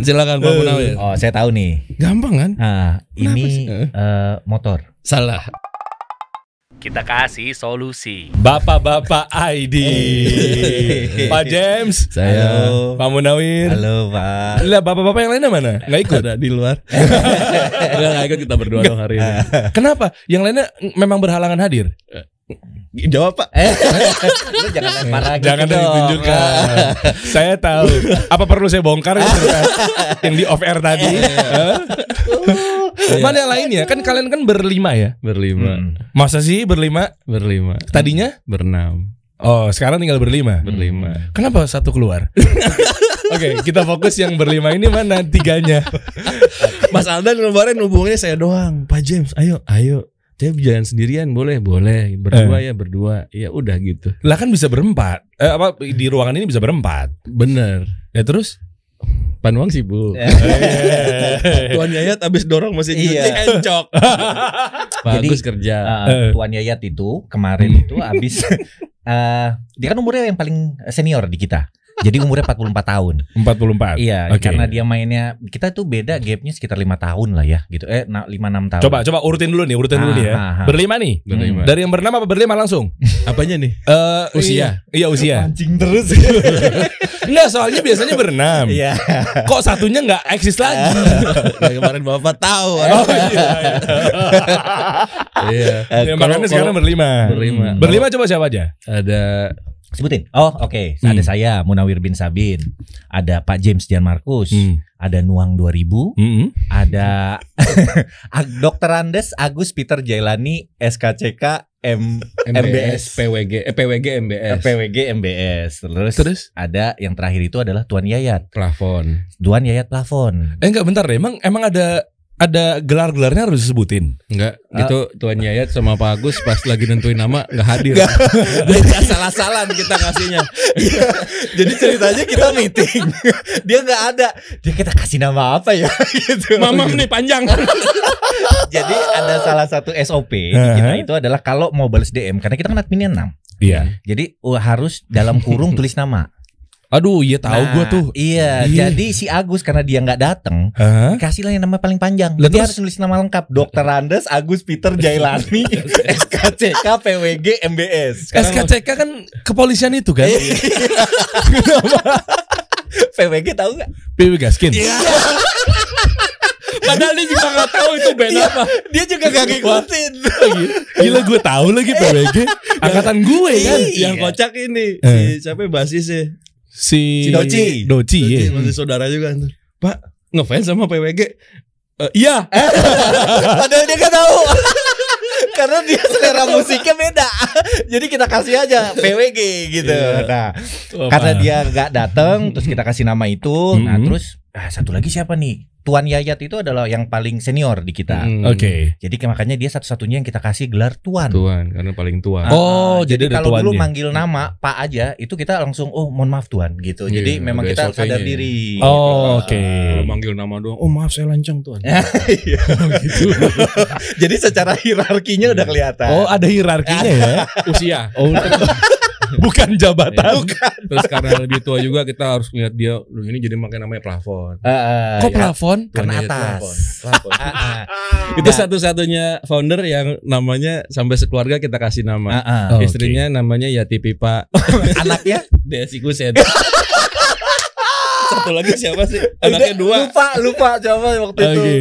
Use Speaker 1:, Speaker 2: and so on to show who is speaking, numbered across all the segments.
Speaker 1: Silakan Pak Munawir.
Speaker 2: Oh, saya tahu nih.
Speaker 1: Gampang kan?
Speaker 2: Nah, ini
Speaker 1: sih? Eh.
Speaker 2: eh, motor.
Speaker 1: Salah.
Speaker 2: Kita kasih solusi.
Speaker 3: Bapak-bapak ID. Pak James.
Speaker 1: Saya.
Speaker 2: Halo.
Speaker 3: Pak Munawir.
Speaker 2: Halo, Pak.
Speaker 3: Lah bapak-bapak yang lainnya mana? Nggak ikut.
Speaker 1: Ada di luar. Enggak nggak ikut kita berdua dong hari ini.
Speaker 3: Kenapa? Yang lainnya mm, memang berhalangan hadir.
Speaker 1: Jawab Pak.
Speaker 2: Eh, lu Eh, jangan lempar lagi.
Speaker 3: Jangan
Speaker 2: gitu dong.
Speaker 3: ditunjukkan. saya tahu. Apa perlu saya bongkar gitu kan? yang di off air tadi?
Speaker 4: Iya.
Speaker 3: Hah? mana yang lainnya? Kan kalian kan berlima ya?
Speaker 4: berlima
Speaker 2: Hmm.
Speaker 3: Masa sih berlima?
Speaker 4: berlima
Speaker 3: Tadinya?
Speaker 4: berenam
Speaker 3: Oh, sekarang tinggal berlima.
Speaker 4: berlima
Speaker 3: Kenapa satu keluar? Oke, kita fokus yang berlima ini mana tiganya?
Speaker 4: Mas Aldan kemarin hubungannya saya doang Pak James ayo ayo saya jalan sendirian boleh boleh berdua ya berdua ya udah gitu
Speaker 3: Eh. Lah kan bisa berempat. Eh, apa di ruangan ini bisa berempat?
Speaker 4: bener
Speaker 3: Ya terus?
Speaker 4: Panuang sibuk
Speaker 1: Iya. Oh, Tuan Yayat abis dorong masih nyuci
Speaker 2: Iya.
Speaker 1: encok.
Speaker 4: bagus
Speaker 2: Jadi,
Speaker 4: kerja
Speaker 2: Eh, Tuan Yayat itu kemarin itu habis eh dia kan umurnya yang paling senior di kita. Jadi umurnya 44 tahun.
Speaker 3: 44.
Speaker 2: Iya,
Speaker 3: Oke.
Speaker 2: karena dia mainnya kita tuh beda gapnya sekitar lima tahun lah ya gitu. Eh, na- lima enam tahun.
Speaker 3: Coba coba urutin dulu nih, urutin dulu
Speaker 2: Ah,
Speaker 3: nih ya.
Speaker 2: ah, ah.
Speaker 3: Berlima nih.
Speaker 4: berlima
Speaker 3: Dari yang bernama apa berlima langsung?
Speaker 4: apanya nih
Speaker 3: Eh,
Speaker 4: Usia.
Speaker 3: Iya, usia.
Speaker 2: Anjing terus.
Speaker 3: Enggak, soalnya biasanya berenam.
Speaker 2: Iya.
Speaker 3: Kok satunya nggak eksis
Speaker 4: Ah,
Speaker 3: lagi?
Speaker 1: Nah, kemarin Bapak tahu.
Speaker 3: Oh iya.
Speaker 4: iya
Speaker 1: Eh,
Speaker 3: Ya,
Speaker 1: kalau-
Speaker 3: makanya sekarang berlima.
Speaker 4: berlima
Speaker 3: Berlima coba siapa aja?
Speaker 4: ada
Speaker 2: Sebutin. Oh, oke. Ada saya Munawir bin Sabin, ada Pak James Dian Markus,
Speaker 4: Hmm.
Speaker 3: Hmm.
Speaker 2: ada Nuang 2000,
Speaker 3: Mm-mm.
Speaker 2: ada Ag- Dr. Andes Agus Peter Jailani SKCK M MBS.
Speaker 4: MBS PWG eh, PWG MBS
Speaker 2: PWG MBS. Terus,
Speaker 3: Terus?
Speaker 2: ada yang terakhir itu adalah Tuan Yayat.
Speaker 4: plafon
Speaker 2: Tuan Yayat Plafon.
Speaker 3: Eh enggak bentar deh, emang emang ada ada gelar-gelarnya harus disebutin. Ah.
Speaker 4: enggak itu Tuan Yayat sama Pak Agus pas lagi nentuin nama nggak hadir
Speaker 1: Jadi asal-asalan kita ngasihnya. Iya. Jadi ceritanya kita meeting.
Speaker 2: Dia nggak ada. Dia kita kasih nama apa ya? gitu.
Speaker 4: mamam nih panjang
Speaker 2: Jadi ada salah satu SOP di kita
Speaker 3: Uh-huh.
Speaker 2: itu adalah kalau mau balas DM karena kita kan adminnya 6.
Speaker 3: Iya.
Speaker 2: Jadi uh, harus dalam kurung tulis nama.
Speaker 3: Aduh, iya tahu
Speaker 2: Nah,
Speaker 3: gua tuh.
Speaker 2: Iya,
Speaker 3: Iya.
Speaker 2: jadi si Agus karena dia nggak datang
Speaker 3: Hah?
Speaker 2: kasihlah yang nama paling panjang.
Speaker 3: Lah,
Speaker 2: Dia
Speaker 3: terus?
Speaker 2: harus nulis nama lengkap. Dokter Andes Agus Peter Jailani SKCK PWG MBS.
Speaker 3: SKCK kan kepolisian itu kan?
Speaker 2: PWG tahu nggak?
Speaker 3: PW Gaskin.
Speaker 4: Padahal dia juga gak tahu itu band apa
Speaker 2: Dia juga gak ngikutin.
Speaker 3: Gila gue tahu lagi PWG. Angkatan gue kan.
Speaker 1: Yang
Speaker 2: Iya.
Speaker 1: kocak ini
Speaker 3: Eh.
Speaker 1: si siapa basis ya?
Speaker 3: Si
Speaker 1: Si Doci.
Speaker 3: Doci, iya.
Speaker 1: Masih saudara juga tuh.
Speaker 4: Ngefans sama PWG Eh, Iya
Speaker 2: Padahal dia gak tahu. Karena dia selera musiknya beda. Jadi kita kasih aja PWG gitu.
Speaker 3: Iya.
Speaker 2: Nah, karena dia nggak datang terus kita kasih nama itu. Nah,
Speaker 3: Mhm.
Speaker 2: terus ah, satu lagi siapa nih? Tuan Yayat itu adalah yang paling senior di kita.
Speaker 4: Hmm.
Speaker 3: Oke.
Speaker 2: Jadi ke- makanya dia satu-satunya yang kita kasih gelar tuan.
Speaker 4: Tuan karena paling tua
Speaker 2: Ah,
Speaker 3: Oh, jadi ada
Speaker 2: kalau dulu
Speaker 3: tuannya.
Speaker 2: manggil nama Pak aja, itu kita langsung oh mohon maaf tuan gitu.
Speaker 4: Iya,
Speaker 2: Jadi memang
Speaker 4: ada
Speaker 2: kita harus
Speaker 4: SOP-nya.
Speaker 2: sadar diri.
Speaker 3: Oh, oke.
Speaker 4: Kalau manggil nama doang Oh maaf saya lancang tuan
Speaker 2: Jadi secara hierarkinya udah kelihatan.
Speaker 3: Oh, ada hierarkinya ya.
Speaker 4: Usia
Speaker 3: Oh, bukan
Speaker 2: Iya.
Speaker 3: jabatan.
Speaker 2: kan?
Speaker 4: Terus karena lebih tua juga kita harus lihat dia Duh ini jadi makin namanya plafon
Speaker 3: Ah,
Speaker 2: Eh, eh,
Speaker 3: Kok
Speaker 2: ya.
Speaker 3: plafon?
Speaker 4: Tuan
Speaker 2: Karena
Speaker 4: Yayat
Speaker 2: atas.
Speaker 4: plafon. Plafon.
Speaker 2: Ah, ah.
Speaker 4: Itu
Speaker 2: Nah.
Speaker 4: satu-satunya founder yang namanya Sampai sekeluarga kita kasih nama
Speaker 2: Ah, ah.
Speaker 3: Oh, oke.
Speaker 4: Istrinya namanya Yati Pipa
Speaker 2: Anaknya
Speaker 4: Desi Kusen Satu lagi siapa sih? Anaknya dua
Speaker 2: lupa lupa coba waktu
Speaker 3: Oke.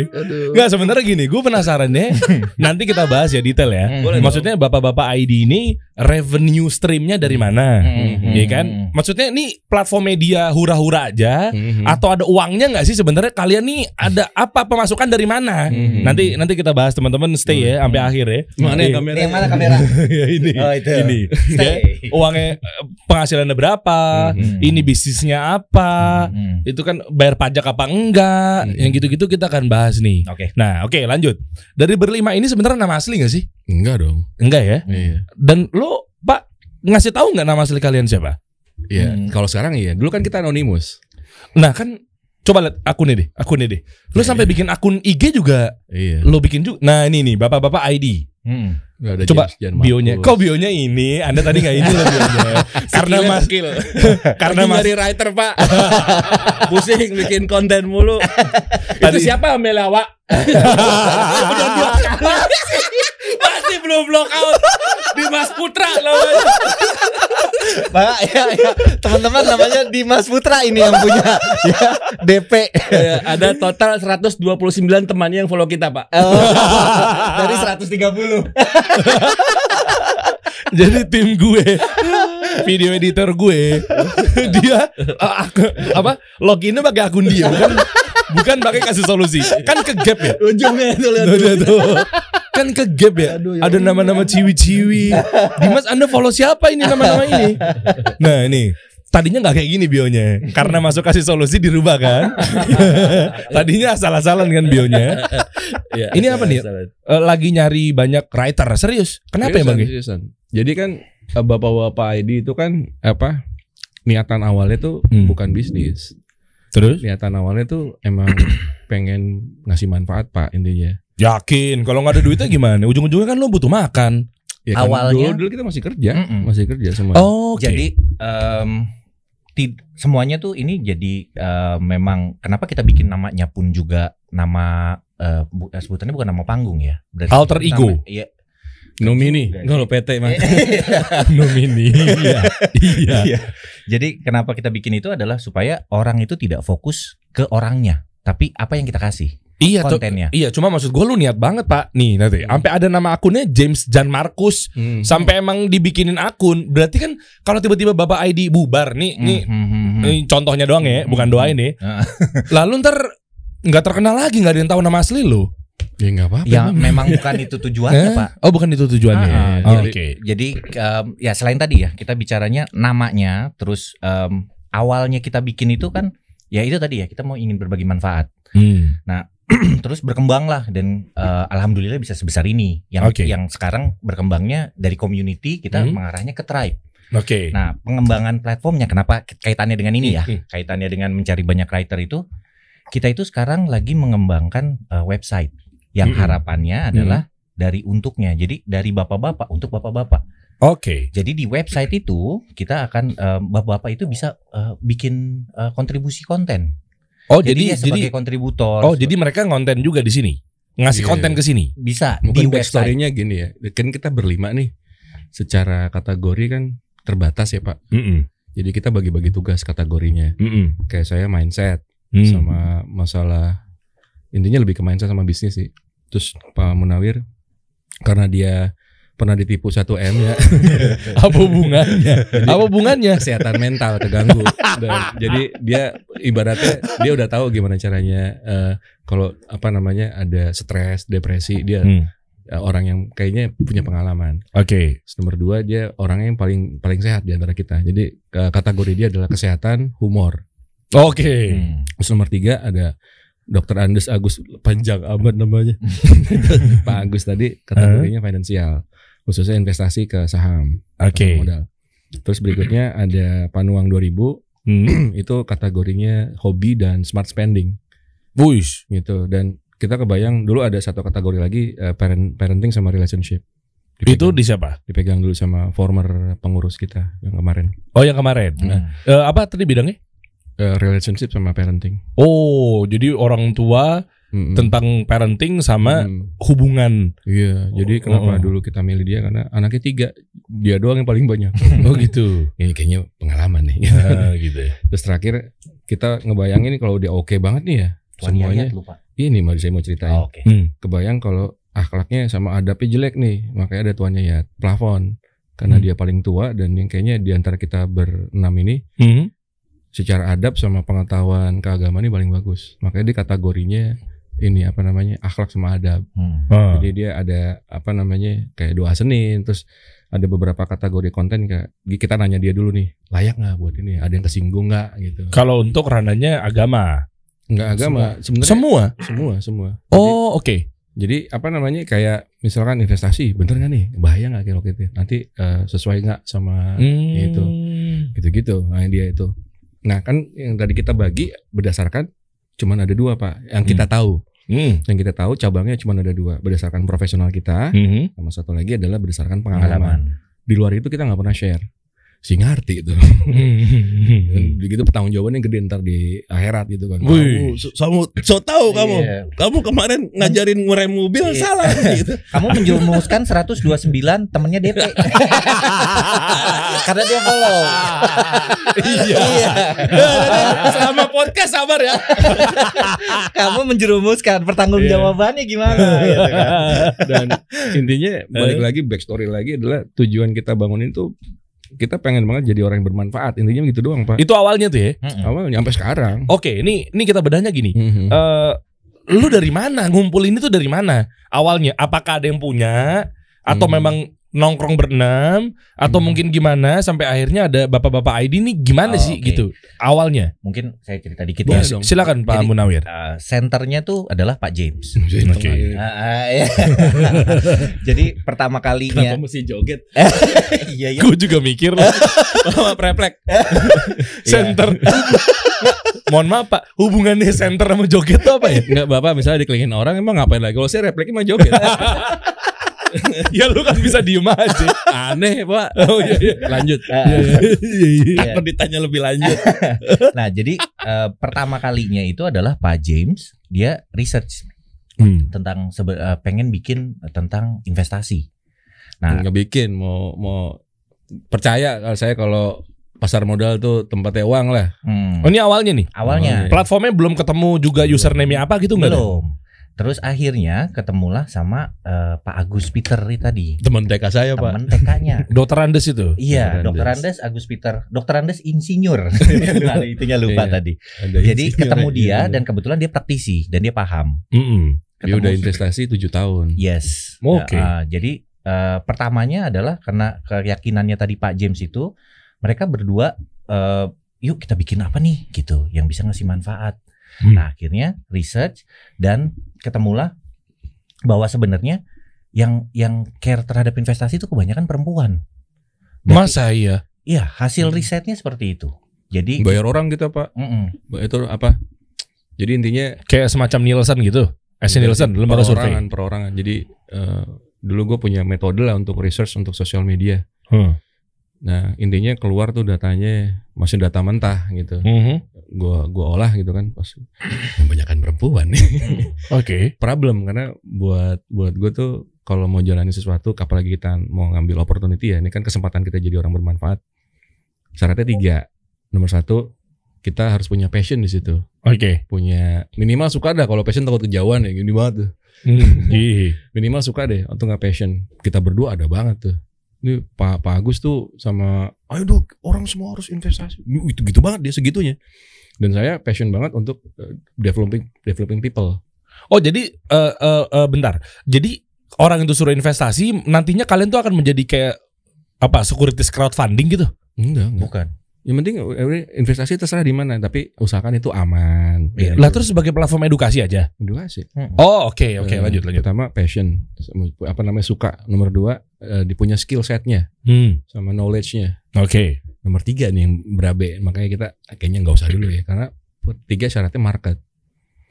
Speaker 3: Nggak sebenarnya gini, gue penasaran deh. nanti kita bahas ya detail ya.
Speaker 2: Hmm. Boleh dong.
Speaker 3: Maksudnya bapak-bapak ID ini revenue streamnya dari mana?
Speaker 2: Hmm.
Speaker 3: Iya kan? Maksudnya ini platform media hura-hura aja
Speaker 2: Hmm.
Speaker 4: Mhm.
Speaker 3: atau ada uangnya nggak sih sebenarnya kalian nih ada apa pemasukan dari mana?
Speaker 4: Mhm.
Speaker 3: Nanti nanti kita bahas teman-teman stay ya sampai akhir ya.
Speaker 4: Mana
Speaker 3: Iya.
Speaker 4: yang kamera?
Speaker 2: Ini yang Hmm. mana kamera?
Speaker 3: Ya, ini.
Speaker 2: Oh, itu.
Speaker 3: Ini.
Speaker 2: Stay.
Speaker 3: Ya, uangnya eh, penghasilannya berapa?
Speaker 2: Mhm.
Speaker 3: Ini bisnisnya apa?
Speaker 2: Hmm.
Speaker 3: Itu kan bayar pajak apa enggak?
Speaker 4: Mhm.
Speaker 3: Yang gitu-gitu kita akan bahas nih.
Speaker 2: Oke.
Speaker 3: Nah, oke lanjut. Dari berlima ini sebenarnya nama asli gak sih?
Speaker 4: Enggak dong
Speaker 3: Enggak ya.
Speaker 4: Iya
Speaker 3: Dan lo, Pak, ngasih tahu nggak nama asli kalian siapa?
Speaker 4: Iya,
Speaker 2: Hmm.
Speaker 4: kalau sekarang iya. Dulu kan kita anonimus.
Speaker 3: Nah, kan coba lihat akunnya deh, akunnya deh. Lo sampai bikin akun IG juga
Speaker 4: Iya.
Speaker 3: lo bikin juga. Nah, ini nih, Bapak-bapak ID.
Speaker 2: Hmm.
Speaker 4: Nggak ada
Speaker 3: Coba
Speaker 4: James, jangan
Speaker 3: bionya.
Speaker 4: mampus.
Speaker 3: Kok bionya ini? Anda tadi nggak ini loh bionya. karena
Speaker 1: Gila,
Speaker 3: mas,
Speaker 1: gila.
Speaker 3: karena
Speaker 1: Lagi
Speaker 3: mas,
Speaker 1: nyari writer pak pusing bikin konten mulu itu
Speaker 3: Tadi-
Speaker 1: siapa Melawa udah dua kali masih belum block out Dimas Putra lawan
Speaker 2: Pak, ya, ya. Teman-teman namanya Dimas Putra ini yang punya ya, DP.
Speaker 1: Eh, ada total 129 temannya yang follow kita pak
Speaker 2: Oh, dari 130.
Speaker 3: jadi tim gue, video editor gue, dia eh, ak- apa? Loginnya pakai akun dia, bukan, bukan pakai kasih solusi. Kan ke gap ya.
Speaker 1: ujungnya itu lihat
Speaker 3: Tuh, tuh, tuh. Kan ke gap ya. Ada nama-nama ciwi-ciwi. Dimas Anda follow siapa ini nama-nama ini? Nah, ini. Tadinya nggak kayak gini bionya. Karena masuk kasih solusi dirubah kan. Tadinya asal-asalan kan bionya.
Speaker 4: Iya,
Speaker 3: Ini apa nih?
Speaker 4: salah.
Speaker 3: Eh, lagi nyari banyak writer. Serius. Kenapa
Speaker 4: Seriusan,
Speaker 3: ya, Bang? Ge?
Speaker 4: seriusan. Jadi kan eh, bapak-bapak ID itu kan apa? Niatan awalnya tuh
Speaker 3: Hmm.
Speaker 4: bukan bisnis.
Speaker 3: Terus?
Speaker 4: Niatan awalnya tuh emang pengen ngasih manfaat pak intinya.
Speaker 3: Yakin. Kalau nggak ada duitnya gimana? Ujung-ujungnya kan lo butuh makan.
Speaker 4: Ya kan,
Speaker 2: Awalnya-
Speaker 4: dulu, dulu kita masih kerja,
Speaker 2: Mm-mm.
Speaker 4: masih kerja semua.
Speaker 3: Hmm. Oh,
Speaker 2: Hmm. Jadi em, tid- semuanya tuh ini jadi eh, memang kenapa kita bikin namanya pun juga nama eh, bu- eh, sebutannya bukan nama panggung ya. Berarti
Speaker 3: Alter ego.
Speaker 2: Nama- Iya.
Speaker 4: Nomini,
Speaker 2: Enggak.
Speaker 4: enggak lo PT mah.
Speaker 3: nomini. Iya. Iya.
Speaker 2: Iya. Jadi kenapa kita bikin itu adalah supaya orang itu tidak fokus ke orangnya, tapi apa yang kita kasih
Speaker 3: Iya, tuh.
Speaker 2: kontennya.
Speaker 3: Iya, cuma maksud gue lu niat banget pak. Nih nanti, sampai ada nama akunnya James Jan Markus.
Speaker 4: Hmm.
Speaker 3: sampai emang dibikinin akun berarti kan kalau tiba-tiba bapak ID bubar nih nih
Speaker 2: Hmm, hmm, hmm, hmm.
Speaker 3: ini contohnya doang ya bukan
Speaker 2: Hmm.
Speaker 3: doain nih
Speaker 2: Heeh.
Speaker 3: lalu ntar nggak terkenal lagi nggak ada yang tahu nama asli lo
Speaker 4: Ya enggak apa-apa.
Speaker 2: Ya memang bukan itu tujuannya,
Speaker 3: Eh?
Speaker 2: Pak.
Speaker 3: oh bukan itu tujuannya
Speaker 2: Ah,
Speaker 3: Oh,
Speaker 4: jadi-
Speaker 3: oke
Speaker 2: Jadi em, ya selain tadi ya kita bicaranya namanya, terus em, awalnya kita bikin itu kan ya itu tadi ya kita mau ingin berbagi manfaat.
Speaker 3: Hmm.
Speaker 2: terus berkembanglah dan eh, alhamdulillah bisa sebesar ini. Yang
Speaker 3: Oke.
Speaker 2: yang sekarang berkembangnya dari community kita
Speaker 3: Hmm.
Speaker 2: mengarahnya ke tribe.
Speaker 3: oke
Speaker 2: Nah, pengembangan platformnya kenapa kaitannya dengan ini ya?
Speaker 3: Hmm.
Speaker 2: Kaitannya dengan mencari banyak writer itu kita itu sekarang lagi mengembangkan eh, website yang
Speaker 3: Mm-mm.
Speaker 2: harapannya adalah dari untuknya. Jadi dari bapak-bapak untuk bapak-bapak.
Speaker 3: oke
Speaker 2: Jadi di website itu kita akan eh, bapak-bapak itu bisa eh, bikin eh, kontribusi konten.
Speaker 3: oh jadi
Speaker 2: ya
Speaker 3: jadi
Speaker 2: sebagai kontributor.
Speaker 3: oh jadi mereka konten juga di sini ngasih
Speaker 4: Iya.
Speaker 3: konten ke sini
Speaker 2: bisa di
Speaker 4: Mungkin
Speaker 2: website.
Speaker 4: backstory-nya gini ya. Kan kita berlima nih. Secara kategori kan terbatas ya, Pak.
Speaker 3: Mm-mm.
Speaker 4: Jadi kita bagi-bagi tugas kategorinya.
Speaker 3: Mm-mm.
Speaker 4: Kayak saya mindset
Speaker 3: Hmm.
Speaker 4: sama masalah intinya lebih ke mindset sama bisnis sih. Terus Pak Munawir karena dia pernah ditipu 1M ya
Speaker 3: apa hubungannya apa hubungannya
Speaker 4: kesehatan mental keganggu Dan jadi dia ibaratnya dia udah tahu gimana caranya eh, kalau apa namanya ada stres depresi dia
Speaker 3: Hmm.
Speaker 4: eh, orang yang kayaknya punya pengalaman
Speaker 3: oke
Speaker 4: Terus nomor dua dia orangnya yang paling paling sehat di antara kita. Jadi ke- kategori dia adalah kesehatan, humor.
Speaker 3: oke
Speaker 2: Hmm.
Speaker 4: Terus nomor tiga ada Dr. Andes Agus panjang amat namanya. Pak Agus tadi kategorinya finansial, khususnya investasi ke saham,
Speaker 3: oke
Speaker 4: pasar modal. Terus berikutnya ada Panuang 2000
Speaker 3: Hmm.
Speaker 4: itu kategorinya hobi dan smart spending
Speaker 3: Wuish.
Speaker 4: gitu dan kita kebayang dulu ada satu kategori lagi eh, parent, parenting sama relationship.
Speaker 3: itu
Speaker 4: Dipegang-
Speaker 3: di siapa
Speaker 4: dipegang dulu sama former pengurus kita yang kemarin.
Speaker 3: oh yang kemarin
Speaker 2: Nah,
Speaker 3: Eh, apa tadi bidangnya
Speaker 4: Eh, relationship sama parenting.
Speaker 3: Oh, jadi orang tua
Speaker 4: Mm-mm.
Speaker 3: tentang parenting sama
Speaker 4: Mm.
Speaker 3: hubungan.
Speaker 4: Iya, jadi
Speaker 3: Oh,
Speaker 4: kenapa
Speaker 3: oh.
Speaker 4: dulu kita milih dia karena anaknya tiga, dia doang yang paling banyak. Iya.
Speaker 3: Oh gitu.
Speaker 4: Ini kayaknya pengalaman nih.
Speaker 3: Ah, gitu.
Speaker 4: Terus terakhir kita ngebayangin kalau dia oke banget nih ya,
Speaker 2: Tuan
Speaker 4: semuanya.
Speaker 2: Yayat lupa.
Speaker 4: Ini mau saya mau ceritain.
Speaker 2: Oh, Oke.
Speaker 3: Hmm.
Speaker 4: Kebayang kalau akhlaknya sama adabnya jelek nih, makanya ada tuannya ya plafon. Karena
Speaker 3: Hmm.
Speaker 4: dia paling tua dan yang kayaknya di antara kita berenam ini
Speaker 3: Hmm.
Speaker 4: secara adab sama pengetahuan keagamaan ini paling bagus. Makanya dia kategorinya ini apa namanya akhlak sama adab.
Speaker 2: Hmm.
Speaker 3: Ah.
Speaker 4: Jadi dia ada apa namanya kayak doa Senin, terus ada beberapa kategori konten kayak kita nanya dia dulu nih layak nggak buat ini, ada yang kesinggung nggak gitu.
Speaker 3: Kalau untuk ranahnya agama.
Speaker 4: Nggak agama, sebenarnya
Speaker 3: Semua.
Speaker 4: semua semua. Jadi-
Speaker 3: Oh, oke.
Speaker 4: Jadi, apa namanya kayak misalkan investasi, bener nggak nih bahaya nggak kalau gitu? Nanti eh, sesuai nggak sama
Speaker 3: Hmm.
Speaker 4: Itu. gitu-gitu? Nah dia itu. Nah kan yang tadi kita bagi berdasarkan cuman ada dua pak yang kita tahu.
Speaker 3: Hmm.
Speaker 4: Yang kita tahu cabangnya cuma ada dua berdasarkan profesional kita,
Speaker 3: Mhm.
Speaker 4: sama satu lagi adalah berdasarkan pengalaman.
Speaker 2: pengalaman.
Speaker 4: Di luar itu kita nggak pernah share. Si ngerti itu. Begitu pertanggung jawabannya gede ntar di akhirat gitu kan.
Speaker 3: Wih.
Speaker 4: so, so- so tahu kamu.
Speaker 2: Iya.
Speaker 4: Kamu kemarin ngajarin ngerem mobil
Speaker 2: Iya.
Speaker 4: salah gitu.
Speaker 2: Kamu menjurumuskan 129 temennya DP. Karena dia follow. iya.
Speaker 1: Selama podcast sabar ya.
Speaker 2: Kamu menjerumuskan pertanggungjawabannya gimana gitu kan.
Speaker 4: Dan intinya balik lagi backstory lagi adalah tujuan kita bangunin tuh kita pengen banget jadi orang yang bermanfaat. Intinya gitu doang, Pak.
Speaker 3: Itu awalnya tuh ya.
Speaker 4: Awalnya sampai sekarang.
Speaker 3: Oke, ini ini kita bedahnya gini.
Speaker 4: Mhm.
Speaker 3: Eh, lu dari mana ngumpul ini tuh dari mana awalnya apakah ada yang punya atau
Speaker 4: Hmm.
Speaker 3: memang nongkrong berenam atau
Speaker 4: Hmm.
Speaker 3: mungkin gimana sampai akhirnya ada bapak-bapak ID nih gimana
Speaker 2: Oh,
Speaker 3: sih
Speaker 2: oke.
Speaker 3: gitu awalnya
Speaker 2: Mungkin saya cerita dikit
Speaker 4: Boleh
Speaker 2: ya.
Speaker 3: ya,
Speaker 4: dong.
Speaker 3: silakan Pak
Speaker 2: Jadi-
Speaker 3: Munawir
Speaker 2: Eh, Senternya tuh adalah Pak James.
Speaker 3: Oke.
Speaker 2: Ah, ah, iya. Jadi pertama kalinya
Speaker 1: Kenapa mesti joget?
Speaker 2: iya iya.
Speaker 3: gue juga mikir lah sama preplek center mohon maaf Pak hubungannya center sama joget tuh apa ya
Speaker 4: Enggak Eh, bapak misalnya dikelingin orang emang ngapain lagi? Kalau saya repliknya mah joget.
Speaker 3: ya lu kan bisa diem aja
Speaker 4: Aneh pak.
Speaker 3: oh iya iya
Speaker 4: Lanjut.
Speaker 2: Iya.
Speaker 4: Takut ditanya lebih lanjut.
Speaker 2: Nah, jadi eh, pertama kalinya itu adalah Pak James, dia research tentang sebe- eh, pengen bikin tentang investasi. Nah,
Speaker 4: Nggak bikin mau mau percaya kalau saya kalau pasar modal tuh tempatnya uang lah.
Speaker 2: hmm,
Speaker 3: oh, ini awalnya nih
Speaker 2: awalnya
Speaker 4: Awalnya.
Speaker 3: platformnya belum ketemu juga
Speaker 4: Belum.
Speaker 3: username-nya apa gitu nggak ada?
Speaker 2: ya? belum. Terus akhirnya ketemulah sama eh, Pak Agus Peter tadi,
Speaker 4: Teman TK saya pak.
Speaker 2: teman TK-nya.
Speaker 3: dokter Andes itu
Speaker 2: Iya,
Speaker 4: Dr.
Speaker 2: Dokter Andes Agus Peter, Dokter Andes insinyur. Nah, itunya lupa
Speaker 4: Iya.
Speaker 2: tadi.
Speaker 4: Ada
Speaker 2: Jadi
Speaker 4: insinyur,
Speaker 2: ketemu
Speaker 4: ya,
Speaker 2: dia
Speaker 4: iya.
Speaker 2: dan kebetulan dia praktisi dan dia paham.
Speaker 3: Mm-mm.
Speaker 4: dia
Speaker 2: Ketemu-
Speaker 4: udah investasi 7 tahun.
Speaker 2: Yes.
Speaker 4: Oh,
Speaker 3: Oke.
Speaker 2: Nah, eh, jadi eh, pertamanya adalah karena keyakinannya tadi Pak James itu, mereka berdua eh, yuk kita bikin apa nih gitu yang bisa ngasih manfaat.
Speaker 3: Hmm.
Speaker 2: Nah akhirnya research dan ketemulah bahwa sebenarnya yang yang care terhadap investasi itu kebanyakan perempuan.
Speaker 3: Masa iya?
Speaker 2: Iya
Speaker 4: Hmm.
Speaker 2: hasil risetnya seperti itu. Jadi
Speaker 4: Bayar orang kita pak.
Speaker 2: mm-mm.
Speaker 4: Itu apa? Jadi intinya
Speaker 3: Kayak semacam Nielsen gitu. Eh, Nielsen, lembaga survei.
Speaker 4: Iya, perorangan perorangan. Jadi eh, dulu gue punya metode lah untuk research untuk sosial media.
Speaker 3: Hmm.
Speaker 4: Nah intinya keluar tuh datanya masih data mentah gitu.
Speaker 3: Mhm.
Speaker 4: gua gua olah gitu kan pas kebanyakan perempuan
Speaker 3: Oke.
Speaker 4: problem karena buat buat gue tuh kalau mau jalani sesuatu apalagi kita mau ngambil opportunity ya ini kan kesempatan kita jadi orang bermanfaat syaratnya tiga nomor satu kita harus punya passion di situ
Speaker 3: Oke.
Speaker 4: punya minimal suka dah kalau passion takut kejauhan ya gini banget tuh
Speaker 3: Ih.
Speaker 4: minimal suka deh atau nggak passion kita berdua ada banget tuh ini Pak Pak Agus tuh sama ayo dong orang semua harus investasi itu gitu banget dia segitunya dan saya passion banget untuk eh, developing developing people
Speaker 3: Oh, jadi eh, eh, eh, bentar. Jadi orang itu suruh investasi, nantinya kalian tuh akan menjadi kayak apa? Securities crowdfunding gitu.
Speaker 4: enggak enggak
Speaker 2: bukan.
Speaker 4: yang penting eh, investasi terserah di mana tapi usahakan itu aman
Speaker 2: Iya.
Speaker 3: Lah terus sebagai platform edukasi aja.
Speaker 4: Iya. edukasi
Speaker 2: Mm-mm.
Speaker 3: Oh, oke oke
Speaker 4: Eh,
Speaker 3: lanjut lanjut.
Speaker 4: pertama passion Sama- apa namanya suka nomor dua eh, dipunya skill setnya
Speaker 3: Hmm.
Speaker 4: sama knowledge-nya
Speaker 3: Oke.
Speaker 4: nomor tiga nih yang berabe makanya kita kayaknya nggak usah dulu ya karena tiga syaratnya market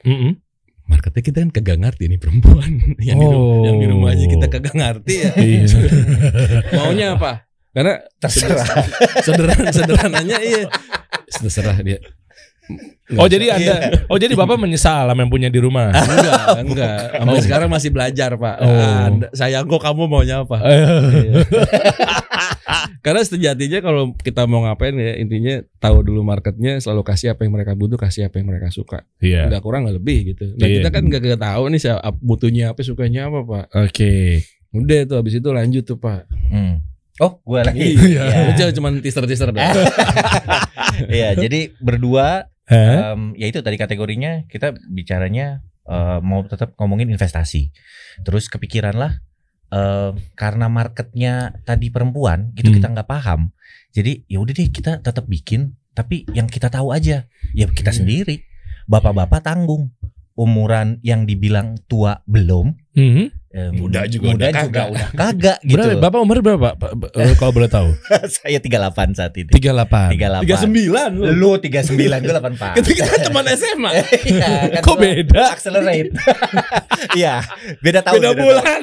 Speaker 3: Mm-mm.
Speaker 4: marketnya kita kan kagak ngerti nih perempuan yang di rumah
Speaker 3: Oh.
Speaker 4: yang di rumah aja kita kagak ngerti ya
Speaker 3: Iya.
Speaker 4: maunya apa karena
Speaker 2: Terserah.
Speaker 4: sederhana sederhananya iya terserah dia
Speaker 3: oh, jadi
Speaker 4: Iya.
Speaker 3: Anda Oh, jadi Bapak menyesal sama yang punya di rumah.
Speaker 4: enggak enggak sampai sekarang masih belajar pak
Speaker 3: Oh.
Speaker 4: sayang kok kamu maunya apa Karena sejatinya kalau kita mau ngapain ya intinya tahu dulu marketnya selalu kasih apa yang mereka butuh kasih apa yang mereka suka
Speaker 3: Iya.
Speaker 4: nggak kurang nggak lebih gitu. Nah
Speaker 3: Iya.
Speaker 4: kita kan nggak nggak tahu nih siapa butuhnya apa sukanya apa pak.
Speaker 3: Oke.
Speaker 4: Udah tuh habis itu lanjut tuh pak.
Speaker 2: Hmm. Oh, gue lagi. Eh.
Speaker 4: Iya. Itu cuma teaser teaser dah.
Speaker 2: Iya, jadi berdua
Speaker 3: Hah?
Speaker 2: Em, ya itu tadi kategorinya kita bicaranya eh, mau tetap ngomongin investasi. Terus kepikiranlah em, karena marketnya tadi perempuan gitu
Speaker 3: Hmm.
Speaker 2: kita nggak paham. Jadi ya udah deh kita tetap bikin tapi yang kita tahu aja ya kita
Speaker 4: Iya.
Speaker 2: sendiri. Bapak-bapak tanggung umuran yang dibilang tua belum
Speaker 3: Mhm.
Speaker 2: Em,
Speaker 1: Muda juga
Speaker 2: muda
Speaker 1: udah
Speaker 2: juga
Speaker 1: kagak.
Speaker 2: udah kagak gitu.
Speaker 3: Berapa, Bapak umur berapa Pak? B- eh, Kalau boleh tahu
Speaker 2: Saya 38 saat ini.
Speaker 3: 38
Speaker 2: 38.
Speaker 4: sembilan
Speaker 2: Lu 39, gue 84.
Speaker 4: kita teman SMA.
Speaker 2: Iya, kan
Speaker 3: Kok
Speaker 2: gua
Speaker 3: beda?
Speaker 2: Accelerate. Iya, beda tahun.
Speaker 1: Beda bulan.